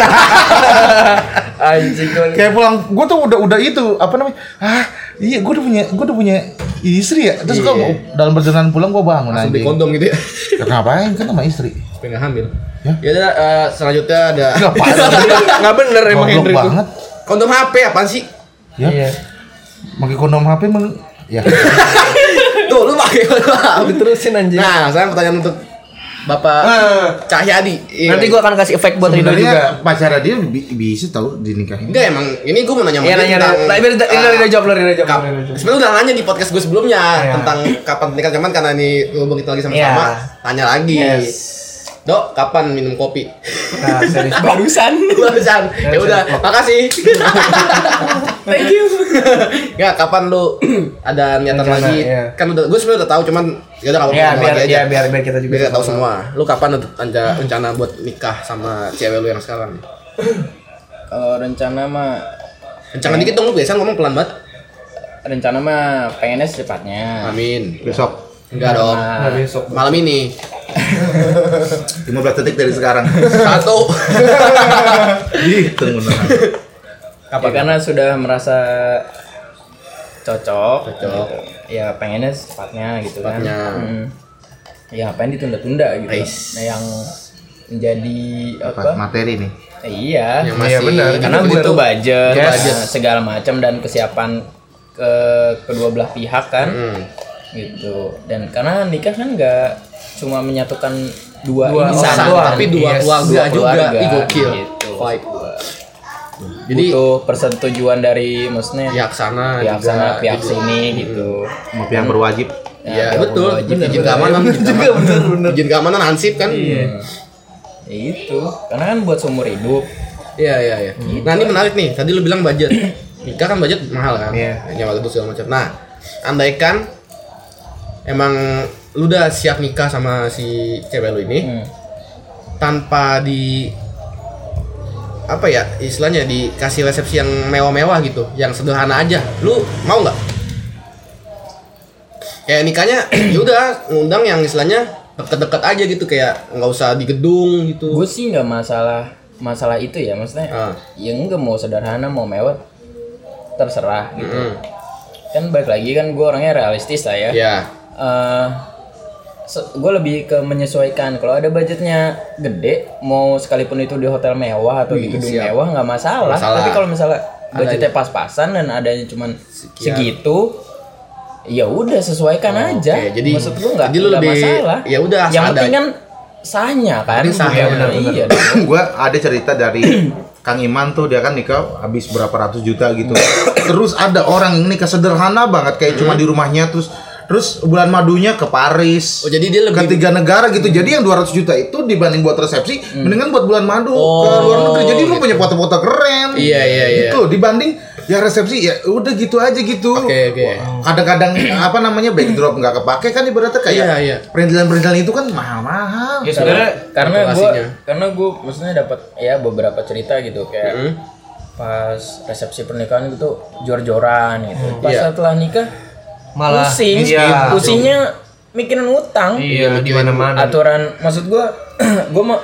[SPEAKER 3] Anjing gua.
[SPEAKER 2] kayak pulang gue tuh udah udah itu apa namanya ah iya gue udah punya gue udah punya istri ya terus gue
[SPEAKER 1] Iya.
[SPEAKER 2] dalam perjalanan pulang gue bangun
[SPEAKER 1] Langsung beli
[SPEAKER 2] anjing
[SPEAKER 1] kondom gitu ya.
[SPEAKER 2] ya, ngapain kan sama istri
[SPEAKER 1] Supaya nggak hamil.
[SPEAKER 2] Ya?
[SPEAKER 1] Ya udah, eh, selanjutnya ada
[SPEAKER 2] ngapain
[SPEAKER 6] Nggak bener emang
[SPEAKER 2] goblok
[SPEAKER 6] Hendry tuh.
[SPEAKER 2] banget
[SPEAKER 1] kondom HP apaan sih?
[SPEAKER 2] ya
[SPEAKER 3] Iya.
[SPEAKER 2] pakai kondom HP meng ya
[SPEAKER 1] Tuh, lu pakai kondom HP.
[SPEAKER 3] Terusin anjing.
[SPEAKER 1] Nah, sekarang pertanyaan untuk Bapak
[SPEAKER 2] Eh,
[SPEAKER 1] Cahyadi. Iya.
[SPEAKER 3] Nah. Nanti gua akan kasih efek buat Rido juga.
[SPEAKER 2] sebenarnya pacara dia bi- bisa tau dinikahin
[SPEAKER 1] Enggak emang, ini gue mau nanya sama
[SPEAKER 3] Iya
[SPEAKER 1] dia
[SPEAKER 3] nanya nanya.
[SPEAKER 1] tentang,
[SPEAKER 3] Tapi Rido Rido- Rido
[SPEAKER 1] eh,
[SPEAKER 3] jawab lo Rido jawab.
[SPEAKER 1] Kap-
[SPEAKER 3] lo, Rido jawab.
[SPEAKER 1] Sebenarnya udah nanya di podcast gue sebelumnya
[SPEAKER 3] Iya.
[SPEAKER 1] tentang kapan pernikahan cuman karena ini hubung kita lagi sama-sama,
[SPEAKER 3] Iya.
[SPEAKER 1] tanya lagi.
[SPEAKER 3] Yes.
[SPEAKER 1] Dok, kapan minum kopi?
[SPEAKER 3] Nah, serius.
[SPEAKER 4] Barusan.
[SPEAKER 1] Barusan. ya udah, makasih. Thank you. Enggak, kapan lu ada niatan
[SPEAKER 3] Rencana,
[SPEAKER 1] lagi?
[SPEAKER 3] iya.
[SPEAKER 1] Kan udah gue sebenarnya udah tahu cuman ya udah kapan
[SPEAKER 3] Ya
[SPEAKER 1] ngomong
[SPEAKER 3] biar
[SPEAKER 1] lagi
[SPEAKER 3] ya biar biar kita juga
[SPEAKER 1] Biar tahu
[SPEAKER 3] sama-sama.
[SPEAKER 1] semua. Lu kapan ada ada rencana buat nikah sama cewek lu yang sekarang?
[SPEAKER 4] Kalau rencana mah
[SPEAKER 1] Rencana dikit dong lu biasa ngomong pelan banget.
[SPEAKER 4] rencana mah pengennya secepatnya.
[SPEAKER 1] Amin.
[SPEAKER 2] besok
[SPEAKER 1] Enggak dong.
[SPEAKER 3] Nah, besok.
[SPEAKER 1] Malam ini.
[SPEAKER 2] 15 detik dari sekarang
[SPEAKER 1] Satu.
[SPEAKER 2] gitu beneran
[SPEAKER 4] Ya, karena sudah merasa cocok.
[SPEAKER 1] Cocok.
[SPEAKER 4] gitu. Ya pengennya secepatnya gitu
[SPEAKER 1] Secepatnya.
[SPEAKER 4] kan. Hmm. Ya ngapain ditunda-tunda gitu. kan.
[SPEAKER 1] Ais.
[SPEAKER 4] Nah, yang menjadi apa?
[SPEAKER 2] Apa? materi nih
[SPEAKER 4] Eh, Iya.
[SPEAKER 1] Yang masih.
[SPEAKER 3] benar.
[SPEAKER 4] Karena
[SPEAKER 1] gitu-gitu.
[SPEAKER 4] butuh budget,
[SPEAKER 1] Yes.
[SPEAKER 4] budget, segala macam dan kesiapan ke kedua belah pihak kan.
[SPEAKER 1] Hmm.
[SPEAKER 4] gitu dan karena nikah kan nggak cuma menyatukan dua,
[SPEAKER 3] Dua
[SPEAKER 4] insan kan.
[SPEAKER 3] orang
[SPEAKER 1] Satu,
[SPEAKER 3] doang,
[SPEAKER 1] tapi dua
[SPEAKER 3] yes.
[SPEAKER 1] keluarga
[SPEAKER 4] Iya, Dua
[SPEAKER 1] juga.
[SPEAKER 4] keluarga,
[SPEAKER 1] Ih gokil.
[SPEAKER 4] gitu.
[SPEAKER 1] Fight. Jadi
[SPEAKER 4] jadi butuh persetujuan dari maksudnya
[SPEAKER 1] pihak sana
[SPEAKER 4] pihak
[SPEAKER 1] juga,
[SPEAKER 4] sana pihak
[SPEAKER 1] gitu.
[SPEAKER 4] sini gitu
[SPEAKER 2] mau yang berwajib
[SPEAKER 1] Iya,
[SPEAKER 4] Ya,
[SPEAKER 1] betul.
[SPEAKER 4] wajib
[SPEAKER 1] Bener, izin
[SPEAKER 4] juga.
[SPEAKER 1] keamanan. Juga benar benar. Izin keamanan hansip kan? Iya.
[SPEAKER 4] Ya, itu karena kan buat seumur hidup
[SPEAKER 1] Iya, iya, iya. Nah, ini menarik nih. Tadi lu bilang budget. Nikah kan budget mahal kan? Nyawa itu segala macam. Nah, andaikan emang lu udah siap nikah sama si cewek lu ini
[SPEAKER 4] Hmm.
[SPEAKER 1] tanpa di apa ya istilahnya dikasih resepsi yang mewah-mewah gitu, yang sederhana aja. Lu mau nggak? Kayak nikahnya ya udah ngundang yang istilahnya deket-deket aja gitu kayak nggak usah di gedung gitu.
[SPEAKER 4] gue sih nggak masalah masalah itu ya maksudnya
[SPEAKER 1] Ah.
[SPEAKER 4] yang nggak mau sederhana mau mewah terserah gitu
[SPEAKER 1] Hmm.
[SPEAKER 4] kan balik lagi kan gue orangnya realistis lah ya
[SPEAKER 1] Ya.
[SPEAKER 4] gue Eh, lebih ke menyesuaikan kalau ada budgetnya gede mau sekalipun itu di hotel mewah atau di
[SPEAKER 1] Wih,
[SPEAKER 4] gedung
[SPEAKER 1] siap.
[SPEAKER 4] mewah nggak masalah.
[SPEAKER 1] Nggak masalah.
[SPEAKER 4] tapi kalau misalnya budgetnya
[SPEAKER 1] aja.
[SPEAKER 4] pas-pasan dan adanya cuman
[SPEAKER 1] Sekian.
[SPEAKER 4] segitu ya udah sesuaikan aja
[SPEAKER 1] jadi-
[SPEAKER 4] maksud gue nggak
[SPEAKER 1] jadi lu
[SPEAKER 4] nggak
[SPEAKER 1] lebih-
[SPEAKER 4] masalah
[SPEAKER 1] ya udah,
[SPEAKER 4] yang
[SPEAKER 1] seadanya.
[SPEAKER 4] penting kan sahnya kan
[SPEAKER 1] Penting sahnya,
[SPEAKER 4] Iya, benar,
[SPEAKER 1] benar.
[SPEAKER 4] iya
[SPEAKER 2] gue ada cerita dari Kang Iman tuh dia kan nikah habis berapa ratus juta gitu. terus ada orang yang nikah sederhana banget kayak cuma di rumahnya terus terus bulan madunya ke Paris.
[SPEAKER 1] Oh, jadi dia lebih-
[SPEAKER 2] ke tiga negara gitu. Jadi yang 200 juta itu dibanding buat resepsi mendingan buat bulan madu ke
[SPEAKER 1] Hmm. Oh,
[SPEAKER 2] luar negeri. Jadi lu
[SPEAKER 1] gitu.
[SPEAKER 2] punya foto-foto keren.
[SPEAKER 1] Iya, iya, iya.
[SPEAKER 2] Gitu dibanding ya resepsi ya udah gitu aja gitu.
[SPEAKER 1] Oke, oke.
[SPEAKER 2] Wah, Kadang-kadang apa namanya backdrop nggak kepake kan ibaratnya kayak
[SPEAKER 1] Iya, iya.
[SPEAKER 2] perintilan-perintilan itu kan mahal-mahal.
[SPEAKER 4] ya sebenarnya karena gue
[SPEAKER 1] kalkulasinya.
[SPEAKER 4] karena gue maksudnya dapat ya beberapa cerita gitu kayak
[SPEAKER 1] Hmm.
[SPEAKER 4] pas resepsi pernikahan gitu jor-joran gitu pas
[SPEAKER 1] Iya.
[SPEAKER 4] setelah nikah
[SPEAKER 3] Malah
[SPEAKER 4] pusing
[SPEAKER 3] iya.
[SPEAKER 4] pusingnya mikirin utang
[SPEAKER 3] Iya, di mana-mana.
[SPEAKER 4] aturan maksud gua gua mau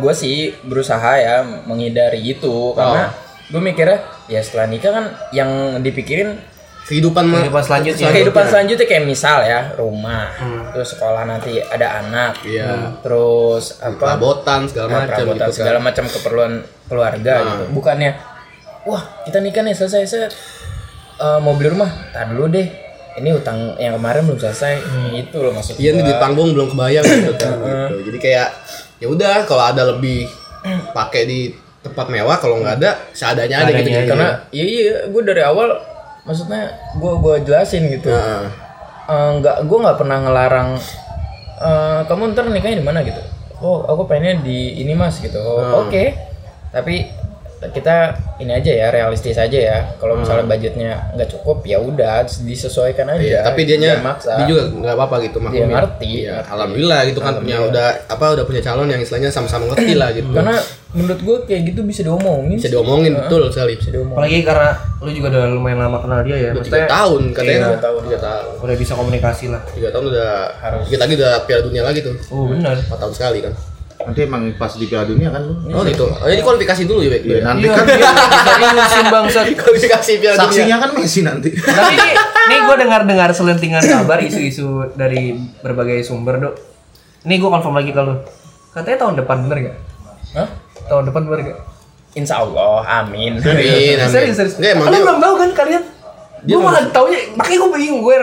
[SPEAKER 4] gua sih berusaha ya
[SPEAKER 1] Oh.
[SPEAKER 4] menghindari itu karena gua mikirnya ya setelah nikah kan yang dipikirin
[SPEAKER 1] kehidupan mah
[SPEAKER 3] Kehidupan selanjutnya.
[SPEAKER 4] kehidupan selanjutnya kayak misal ya rumah terus sekolah nanti ada anak
[SPEAKER 1] Hmm. Iya.
[SPEAKER 4] terus apa
[SPEAKER 1] perabotan segala macam
[SPEAKER 4] Ah, perabotan,
[SPEAKER 1] gitu kan. Nah.
[SPEAKER 4] segala macam keperluan keluarga gitu bukannya wah kita nikah nih selesai saya eh, mau beli rumah tahan dulu deh ini utang yang kemarin belum selesai itu loh maksud
[SPEAKER 1] Iya nih
[SPEAKER 4] gua.
[SPEAKER 1] di panggung belum kebayang gitu kan gitu. Jadi kayak ya udah kalau ada lebih pakai di tempat mewah kalau nggak ada seadanya aja gitu.
[SPEAKER 3] Seadanya
[SPEAKER 1] Karena
[SPEAKER 4] karena iya iya gue dari awal maksudnya gue gue jelasin gitu
[SPEAKER 1] Nah,
[SPEAKER 4] Eh, nggak gue nggak pernah ngelarang eh, kamu ntar nikahnya di mana gitu oh aku pengennya di ini mas gitu Oh,
[SPEAKER 1] Hmm.
[SPEAKER 4] oke tapi kita ini aja ya realistis aja ya kalau
[SPEAKER 1] Hmm.
[SPEAKER 4] misalnya budgetnya nggak cukup ya udah disesuaikan aja
[SPEAKER 1] iya, tapi dianya
[SPEAKER 4] Jangan maksa
[SPEAKER 1] dia juga nggak apa-apa gitu
[SPEAKER 4] dia
[SPEAKER 1] maklumin.
[SPEAKER 4] ngerti
[SPEAKER 1] Iya, alhamdulillah gitu kan punya udah apa udah punya calon yang istilahnya sama-sama ngerti lah gitu.
[SPEAKER 4] karena menurut gue kayak gitu bisa diomongin
[SPEAKER 1] bisa
[SPEAKER 4] sih.
[SPEAKER 1] diomongin betul sekali.
[SPEAKER 4] bisa diomongin
[SPEAKER 3] Apalagi karena lu juga udah lumayan lama kenal dia
[SPEAKER 1] Udah
[SPEAKER 3] ya.
[SPEAKER 1] tiga
[SPEAKER 3] Maksudnya
[SPEAKER 1] tahun katanya.
[SPEAKER 3] Iya.
[SPEAKER 1] Tiga tahun. Tiga tahun.
[SPEAKER 3] udah bisa komunikasi lah.
[SPEAKER 1] Tiga tahun udah Kita lagi udah Piala Dunia lagi tuh.
[SPEAKER 3] Oh benar.
[SPEAKER 1] Empat tahun sekali kan.
[SPEAKER 2] Nanti emang pas di Piala Dunia kan lu.
[SPEAKER 1] Oh gitu. Oh, jadi kualifikasi dulu ya, Bek?
[SPEAKER 2] Ya, nanti
[SPEAKER 3] Iya,
[SPEAKER 2] kan
[SPEAKER 3] dia bisa ngurusin bangsat.
[SPEAKER 1] Kualifikasi Piala Dunia.
[SPEAKER 2] saksinya kan Messi nanti.
[SPEAKER 3] Tapi ini, ini gue dengar-dengar selentingan kabar isu-isu dari berbagai sumber, Dok. Ini gue confirm lagi kalau katanya tahun depan bener gak?
[SPEAKER 4] Hah?
[SPEAKER 3] Tahun depan bener gak?
[SPEAKER 4] insya Allah amin
[SPEAKER 1] Amin, amin.
[SPEAKER 3] Serius, serius.
[SPEAKER 1] Nggak, Iya, emang
[SPEAKER 3] Lu
[SPEAKER 1] dia-
[SPEAKER 3] belum tahu kan kalian? Gue malah taunya, makanya gue bingung. Gue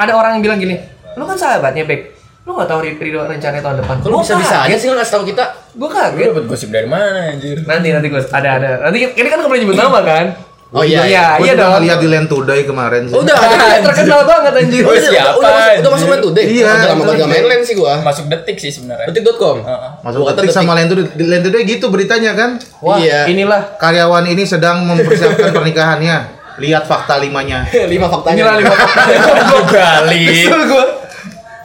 [SPEAKER 3] ada orang yang bilang gini, lu kan sahabatnya Beb. Lu gak tahu Ridho rencananya tahun depan.
[SPEAKER 1] Kalau bisa-bisa aja sih nggak ngasih tahu kita.
[SPEAKER 3] Gue
[SPEAKER 4] gue
[SPEAKER 3] kaget.
[SPEAKER 4] dapet gosip dari mana anjir
[SPEAKER 3] Nanti nanti gue ada ada. Nanti ini kan gak boleh nyebut nama kan?
[SPEAKER 1] Oh iya,
[SPEAKER 3] iya,
[SPEAKER 2] Gua
[SPEAKER 3] iya
[SPEAKER 2] juga
[SPEAKER 3] dong.
[SPEAKER 2] ngeliat di Land Today kemarin sih.
[SPEAKER 1] Udah,
[SPEAKER 3] Ada yang terkenal banget anjir.
[SPEAKER 1] Oh,
[SPEAKER 4] Gua
[SPEAKER 1] udah,
[SPEAKER 4] siapa,
[SPEAKER 1] udah, masuk-
[SPEAKER 4] anjir?
[SPEAKER 1] udah masuk main today.
[SPEAKER 2] Iya,
[SPEAKER 1] udah lama
[SPEAKER 2] itu
[SPEAKER 1] kagak
[SPEAKER 2] dia.
[SPEAKER 1] main LAN sih gua.
[SPEAKER 4] masuk detik sih sebenarnya
[SPEAKER 1] Detik.com.
[SPEAKER 2] Masuk
[SPEAKER 1] Bukan
[SPEAKER 2] detik
[SPEAKER 1] detik.
[SPEAKER 2] sama Land Today. Di Land Today gitu beritanya kan.
[SPEAKER 3] Wah,
[SPEAKER 1] Iya.
[SPEAKER 3] inilah
[SPEAKER 2] Karyawan ini sedang mempersiapkan pernikahannya. Lihat fakta limanya.
[SPEAKER 1] Lima faktanya.
[SPEAKER 3] inilah lima
[SPEAKER 4] gue balik
[SPEAKER 3] Kesel gue.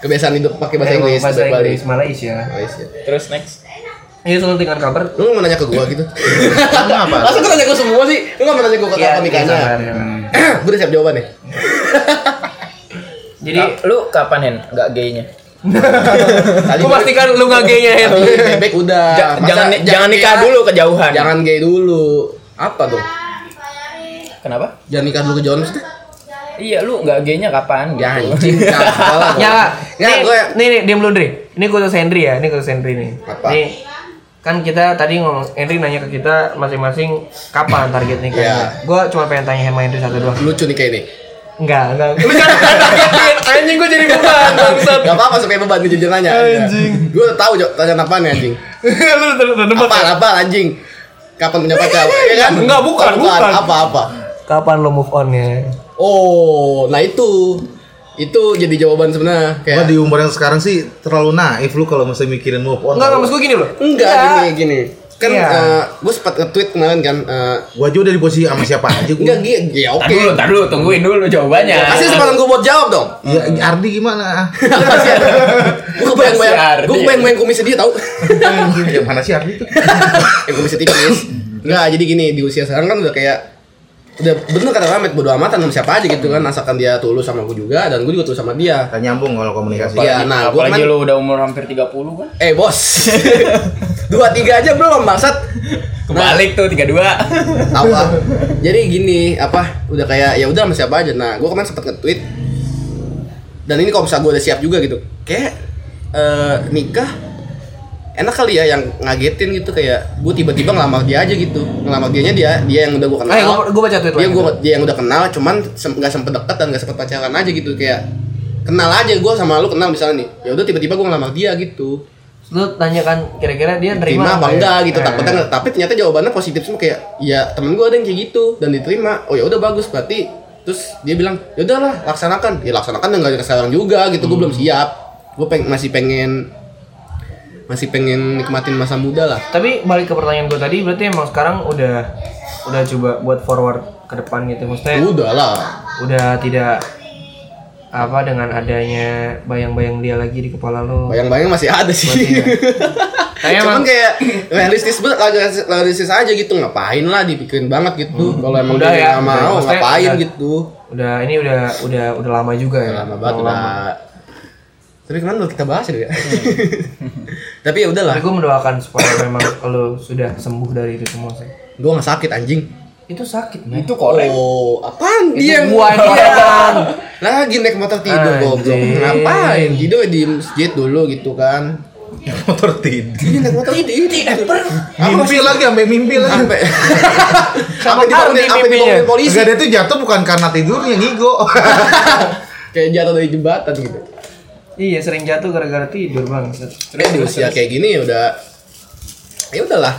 [SPEAKER 1] Kebiasaan hidup pakai bahasa Inggris,
[SPEAKER 3] bahasa
[SPEAKER 1] bahasa
[SPEAKER 3] Inggris Malaysia.
[SPEAKER 1] Malaysia.
[SPEAKER 4] terus next
[SPEAKER 3] Ini selentingan kabar.
[SPEAKER 1] Lu mau nanya ke gua gitu?
[SPEAKER 2] Kenapa?
[SPEAKER 1] Masa gua nanya ke semua sih? Lu nggak mau nanya gua ke
[SPEAKER 3] Iya,
[SPEAKER 1] kapan nikahnya?
[SPEAKER 3] sabar, ya.
[SPEAKER 1] Gua udah siap jawaban nih.
[SPEAKER 3] Jadi
[SPEAKER 4] Ka- lu kapan hen nggak gaynya
[SPEAKER 1] Tadi
[SPEAKER 3] gue pastikan lu gak gaynya ya.
[SPEAKER 1] bebek udah.
[SPEAKER 4] Ja-
[SPEAKER 1] Ah, Masa
[SPEAKER 4] jangan jangan nikah
[SPEAKER 1] gay-
[SPEAKER 4] dulu kejauhan
[SPEAKER 1] Jangan gay dulu. Apa tuh?
[SPEAKER 4] kenapa
[SPEAKER 1] Jangan nikah dulu ke Jones deh.
[SPEAKER 4] iya lu nggak gaynya kapan
[SPEAKER 1] Ya anjing, jangan salah.
[SPEAKER 3] Ya,
[SPEAKER 1] Ya,
[SPEAKER 3] nih,
[SPEAKER 1] gua
[SPEAKER 3] nih, nih, diam dulu, Dri. Ini khusus Henry ya, ini khusus Henry nih.
[SPEAKER 1] Apa?
[SPEAKER 3] Nih, kan kita tadi ngomong, Henry nanya ke kita masing-masing kapan target
[SPEAKER 1] Ya.
[SPEAKER 3] nikahnya. Gue cuma pengen tanya sama Henry satu doang.
[SPEAKER 1] lucu nih kayak ini.
[SPEAKER 3] Enggak, enggak. Lu jangan targetin, anjing gue jadi beban, bangsat.
[SPEAKER 1] Gak apa-apa supaya beban nih jujur nanya. Anjing. Gue udah tahu Jok, tanya apaan ya anjing.
[SPEAKER 3] Lu udah- udah nebak.
[SPEAKER 1] Apa apa anjing? Kapan punya pacar? Iya kan?
[SPEAKER 3] Enggak, bukan, bukan.
[SPEAKER 1] Apa apa?
[SPEAKER 3] Kapan lo move on ya?
[SPEAKER 1] Oh, nah itu. Itu jadi jawaban sebenarnya
[SPEAKER 2] Gua
[SPEAKER 1] kayak
[SPEAKER 2] di umur yang sekarang sih terlalu naif lu kalau masih mikirin move on.
[SPEAKER 3] Enggak, enggak, maksud gue gini loh.
[SPEAKER 1] enggak gini gini. Kan
[SPEAKER 3] Iya.
[SPEAKER 1] gue sempat nge-tweet kemarin kan eh,
[SPEAKER 2] Gua aja udah di posisi sama siapa aja gua.
[SPEAKER 1] enggak gini, ya
[SPEAKER 4] Tar
[SPEAKER 1] oke.
[SPEAKER 4] dulu, tar dulu, tungguin dulu jawabannya.
[SPEAKER 1] Kasih kesempatan gue buat jawab dong.
[SPEAKER 2] Ya Ardi gimana?
[SPEAKER 3] Iya,
[SPEAKER 1] Gue kebayang-bayang,
[SPEAKER 4] Ardi.
[SPEAKER 1] gue kebayang-bayang komisnya dia tau.
[SPEAKER 2] ya mana sih Ardi tuh?
[SPEAKER 1] yang Eh, bisa tipis nggak jadi gini di usia sekarang kan udah kayak udah bener kata Ramet bodo amatan sama siapa aja gitu kan asalkan dia tulus sama gue juga dan gue juga tulus sama dia
[SPEAKER 2] Tak nyambung kalau komunikasi.
[SPEAKER 1] Iya. nah, gua
[SPEAKER 4] apalagi
[SPEAKER 1] kan-
[SPEAKER 4] lu udah umur hampir 30 kan.
[SPEAKER 1] eh bos dua tiga aja belum bangsat Nah,
[SPEAKER 4] Kebalik tuh 32.
[SPEAKER 1] tahu ah. jadi gini apa udah kayak ya udah sama siapa aja nah gue kemarin sempat nge-tweet dan ini kalau misalnya gue udah siap juga gitu kayak eh, nikah enak kali ya yang ngagetin gitu kayak gue tiba-tiba ngelamar dia aja gitu ngelamar dianya dia dia yang udah gue kenal
[SPEAKER 3] Eh, gue gue baca tweet lo.
[SPEAKER 1] dia gue dia yang udah kenal cuman sem- nggak sempet deket dan nggak sempet pacaran aja gitu kayak kenal aja gue sama lu kenal misalnya nih ya udah tiba-tiba gue ngelamar dia gitu
[SPEAKER 3] Lu tanya kan kira-kira dia
[SPEAKER 1] terima
[SPEAKER 3] nerima
[SPEAKER 1] apa
[SPEAKER 3] ya?
[SPEAKER 1] enggak gitu
[SPEAKER 3] Eh.
[SPEAKER 1] takutnya nggak- tapi ternyata jawabannya positif semua kayak ya temen gue ada yang kayak gitu dan diterima oh ya udah bagus berarti terus dia bilang ya udahlah laksanakan ya laksanakan dan nggak ada kesalahan juga gitu gue belum
[SPEAKER 3] Hmm.
[SPEAKER 1] siap gue peng masih pengen masih pengen nikmatin masa muda lah
[SPEAKER 3] Tapi balik ke pertanyaan gue tadi, berarti emang sekarang udah udah coba buat forward ke depan gitu, maksudnya
[SPEAKER 1] udah lah
[SPEAKER 3] udah tidak apa dengan adanya bayang-bayang dia lagi di kepala lo.
[SPEAKER 1] bayang-bayang masih ada sih
[SPEAKER 3] Kayak
[SPEAKER 1] Cuman
[SPEAKER 3] emang
[SPEAKER 1] kayak realistis banget, agak realistis aja gitu ngapain lah dipikirin banget gitu. Kalau emang
[SPEAKER 3] Udah
[SPEAKER 1] dia
[SPEAKER 3] ya,
[SPEAKER 1] nggak
[SPEAKER 3] udah.
[SPEAKER 1] mau
[SPEAKER 3] Maksudnya
[SPEAKER 1] ngapain
[SPEAKER 3] udah.
[SPEAKER 1] gitu.
[SPEAKER 3] udah ini udah udah udah lama juga ya.
[SPEAKER 1] Lama banget udah. Tapi kemarin udah kita bahas ya. Hmm. Tapi ya udahlah,
[SPEAKER 3] Tapi gue mendoakan supaya memang lo sudah sembuh dari itu semua sih.
[SPEAKER 1] gua nggak sakit anjing.
[SPEAKER 3] itu sakit men.
[SPEAKER 1] Itu kolek. Oh, apaan dia? yang-
[SPEAKER 3] buah yang
[SPEAKER 1] Lagi naik motor tidur
[SPEAKER 3] Anjing.
[SPEAKER 1] goblok. Ngapain? Tidur di masjid dulu gitu kan.
[SPEAKER 2] motor tidur
[SPEAKER 1] Ini naik motor tidur.
[SPEAKER 2] Iya. mimpi lagi sampai mimpi lagi
[SPEAKER 1] Sampai
[SPEAKER 3] Sama
[SPEAKER 1] sampai dibangunin
[SPEAKER 3] Ardi
[SPEAKER 1] sampai
[SPEAKER 3] mimpinya.
[SPEAKER 1] dibangunin polisi.
[SPEAKER 2] Enggak dia tuh jatuh bukan karena tidurnya ngigo
[SPEAKER 1] Iya. Kayak jatuh dari jembatan gitu.
[SPEAKER 3] Iya sering jatuh gara-gara tidur bang.
[SPEAKER 1] Terus di
[SPEAKER 3] Iya
[SPEAKER 1] usia kayak gini ya udah ya udahlah.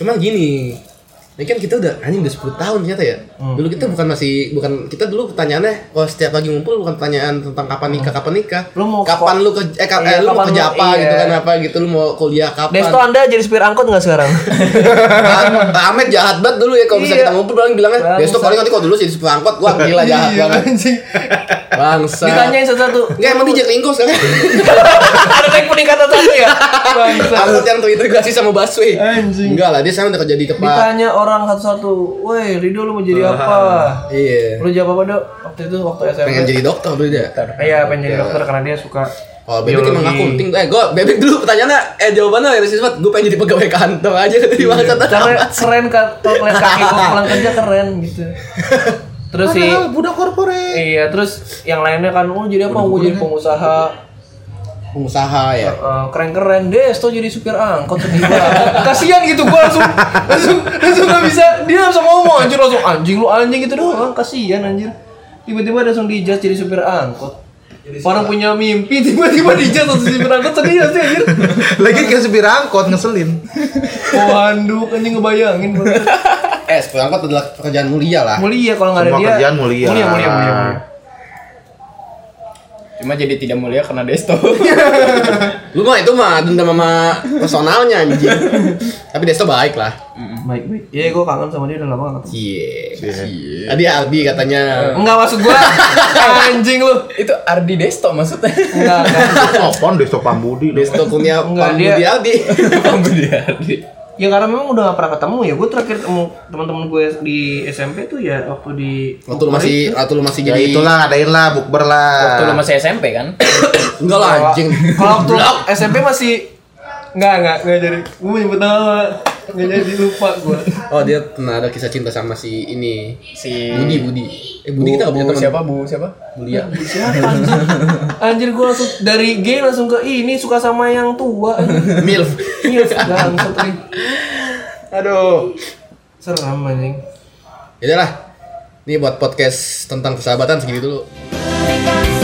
[SPEAKER 1] Cuman gini, ini kan kita udah anjing udah 10 tahun ternyata ya.
[SPEAKER 3] Hmm.
[SPEAKER 1] Dulu kita bukan masih bukan kita dulu pertanyaannya kalau setiap pagi ngumpul bukan pertanyaan tentang kapan nikah, kapan nikah.
[SPEAKER 3] Hmm. Lu mau
[SPEAKER 1] kapan lu ke eh, ka- eh,
[SPEAKER 3] Iya,
[SPEAKER 1] lu mau
[SPEAKER 3] kapan
[SPEAKER 1] kerja
[SPEAKER 3] lu-
[SPEAKER 1] apa
[SPEAKER 3] iya.
[SPEAKER 1] gitu kan apa gitu lu mau kuliah kapan.
[SPEAKER 3] Desto anda jadi supir angkot nggak sekarang?
[SPEAKER 1] Ahmed- Ahmed jahat banget dulu ya kalau misalnya
[SPEAKER 3] Iya.
[SPEAKER 1] kita ngumpul paling bilangnya
[SPEAKER 3] Bangsat.
[SPEAKER 1] Desto paling nanti kalau dulu jadi supir angkot gua gila jahat banget. Bangsa.
[SPEAKER 3] Iya, Ditanyain satu-satu.
[SPEAKER 1] Enggak emang dia Jack Lingo sekarang.
[SPEAKER 3] Ada naik peningkatan satu ya.
[SPEAKER 1] Angkot yang terintegrasi sama busway. Enggak lah dia sekarang udah kerja di tempat.
[SPEAKER 3] Ditanya orang satu-satu, woi Rido lu mau jadi apa?
[SPEAKER 1] Iya.
[SPEAKER 3] Lu jawab apa dok? Waktu itu waktu SMP.
[SPEAKER 1] Pengen jadi dokter dulu dia.
[SPEAKER 3] Iya pengen jadi dokter karena dia suka.
[SPEAKER 1] Kalau bebek emang
[SPEAKER 3] biologi.
[SPEAKER 1] akunting. Eh gua bebek dulu pertanyaannya eh jawabannya ya banget. Gua pengen jadi pegawai kantor aja kata di mana
[SPEAKER 3] Karena keren kan, kalau ngeliat kaki gua pulang kerja keren gitu. Terus si
[SPEAKER 2] Ah, budak korporat
[SPEAKER 3] Iya, terus yang lainnya kan, oh jadi apa? Gue jadi pengusaha
[SPEAKER 1] pengusaha ya.
[SPEAKER 3] eh, keren-keren deh, Sto jadi supir angkot sedih banget. Kasian gitu, gue langsung langsung langsung gak bisa, dia langsung ngomong anjir langsung anjing lu anjing gitu doang, kasian anjir. Tiba-tiba ada langsung dijudge jadi supir angkot. Orang punya mimpi tiba-tiba dijudge atau supir angkot sedih gak sih anjir.
[SPEAKER 2] lagi ke supir angkot ngeselin
[SPEAKER 3] Oh handuk anjing ngebayangin. Bang.
[SPEAKER 1] Eh, supir angkot adalah pekerjaan mulia lah.
[SPEAKER 3] Mulia kalau nggak ada
[SPEAKER 2] Semua
[SPEAKER 3] dia.
[SPEAKER 2] kerjaan mulia.
[SPEAKER 3] Mulia mulia mulia. mulia.
[SPEAKER 4] Cuma jadi tidak mulia karena Desto.
[SPEAKER 1] Lu mah itu mah dendam sama personalnya anjing. Tapi Desto baik lah.
[SPEAKER 3] Baik baik. Iya, gue kangen sama dia udah lama nggak ketemu.
[SPEAKER 1] Cie. Cie. Tadi Aldi Iya. katanya.
[SPEAKER 3] Enggak maksud gua anjing lu.
[SPEAKER 4] itu Ardi Desto maksudnya.
[SPEAKER 3] Enggak. enggak.
[SPEAKER 2] Apaan Desto Pambudi
[SPEAKER 1] Desto punya
[SPEAKER 3] Enggak,
[SPEAKER 1] Pambudi
[SPEAKER 3] dia-
[SPEAKER 1] Aldi.
[SPEAKER 4] Pambudi Ardi.
[SPEAKER 3] Ya karena memang udah gak pernah ketemu ya. Gue terakhir ketemu teman-teman gue di SMP tuh ya waktu di
[SPEAKER 1] Waktu lu masih waktu lu masih
[SPEAKER 2] Ya
[SPEAKER 1] jadi
[SPEAKER 2] itulah adain lah bukber
[SPEAKER 4] Waktu lu
[SPEAKER 2] lah
[SPEAKER 4] masih SMP kan?
[SPEAKER 1] Enggak lah anjing.
[SPEAKER 3] Kalau waktu SMP masih Enggak, enggak, enggak jadi. Gue nyebut nama. Enggak jadi lupa gue.
[SPEAKER 1] Oh, dia pernah ada kisah cinta sama si ini.
[SPEAKER 4] Si
[SPEAKER 1] Budi, Budi. Eh, Budi kita enggak punya
[SPEAKER 4] Bu
[SPEAKER 1] teman.
[SPEAKER 4] Oh, siapa? Bu siapa?
[SPEAKER 1] Mulia.
[SPEAKER 3] Anjir gue langsung dari gay langsung ke ini suka sama yang tua.
[SPEAKER 1] Milf.
[SPEAKER 3] Iya, sekarang setri.
[SPEAKER 1] Aduh.
[SPEAKER 3] Seram anjing.
[SPEAKER 1] Ya lah. Ini buat podcast tentang persahabatan segini dulu.
[SPEAKER 7] Because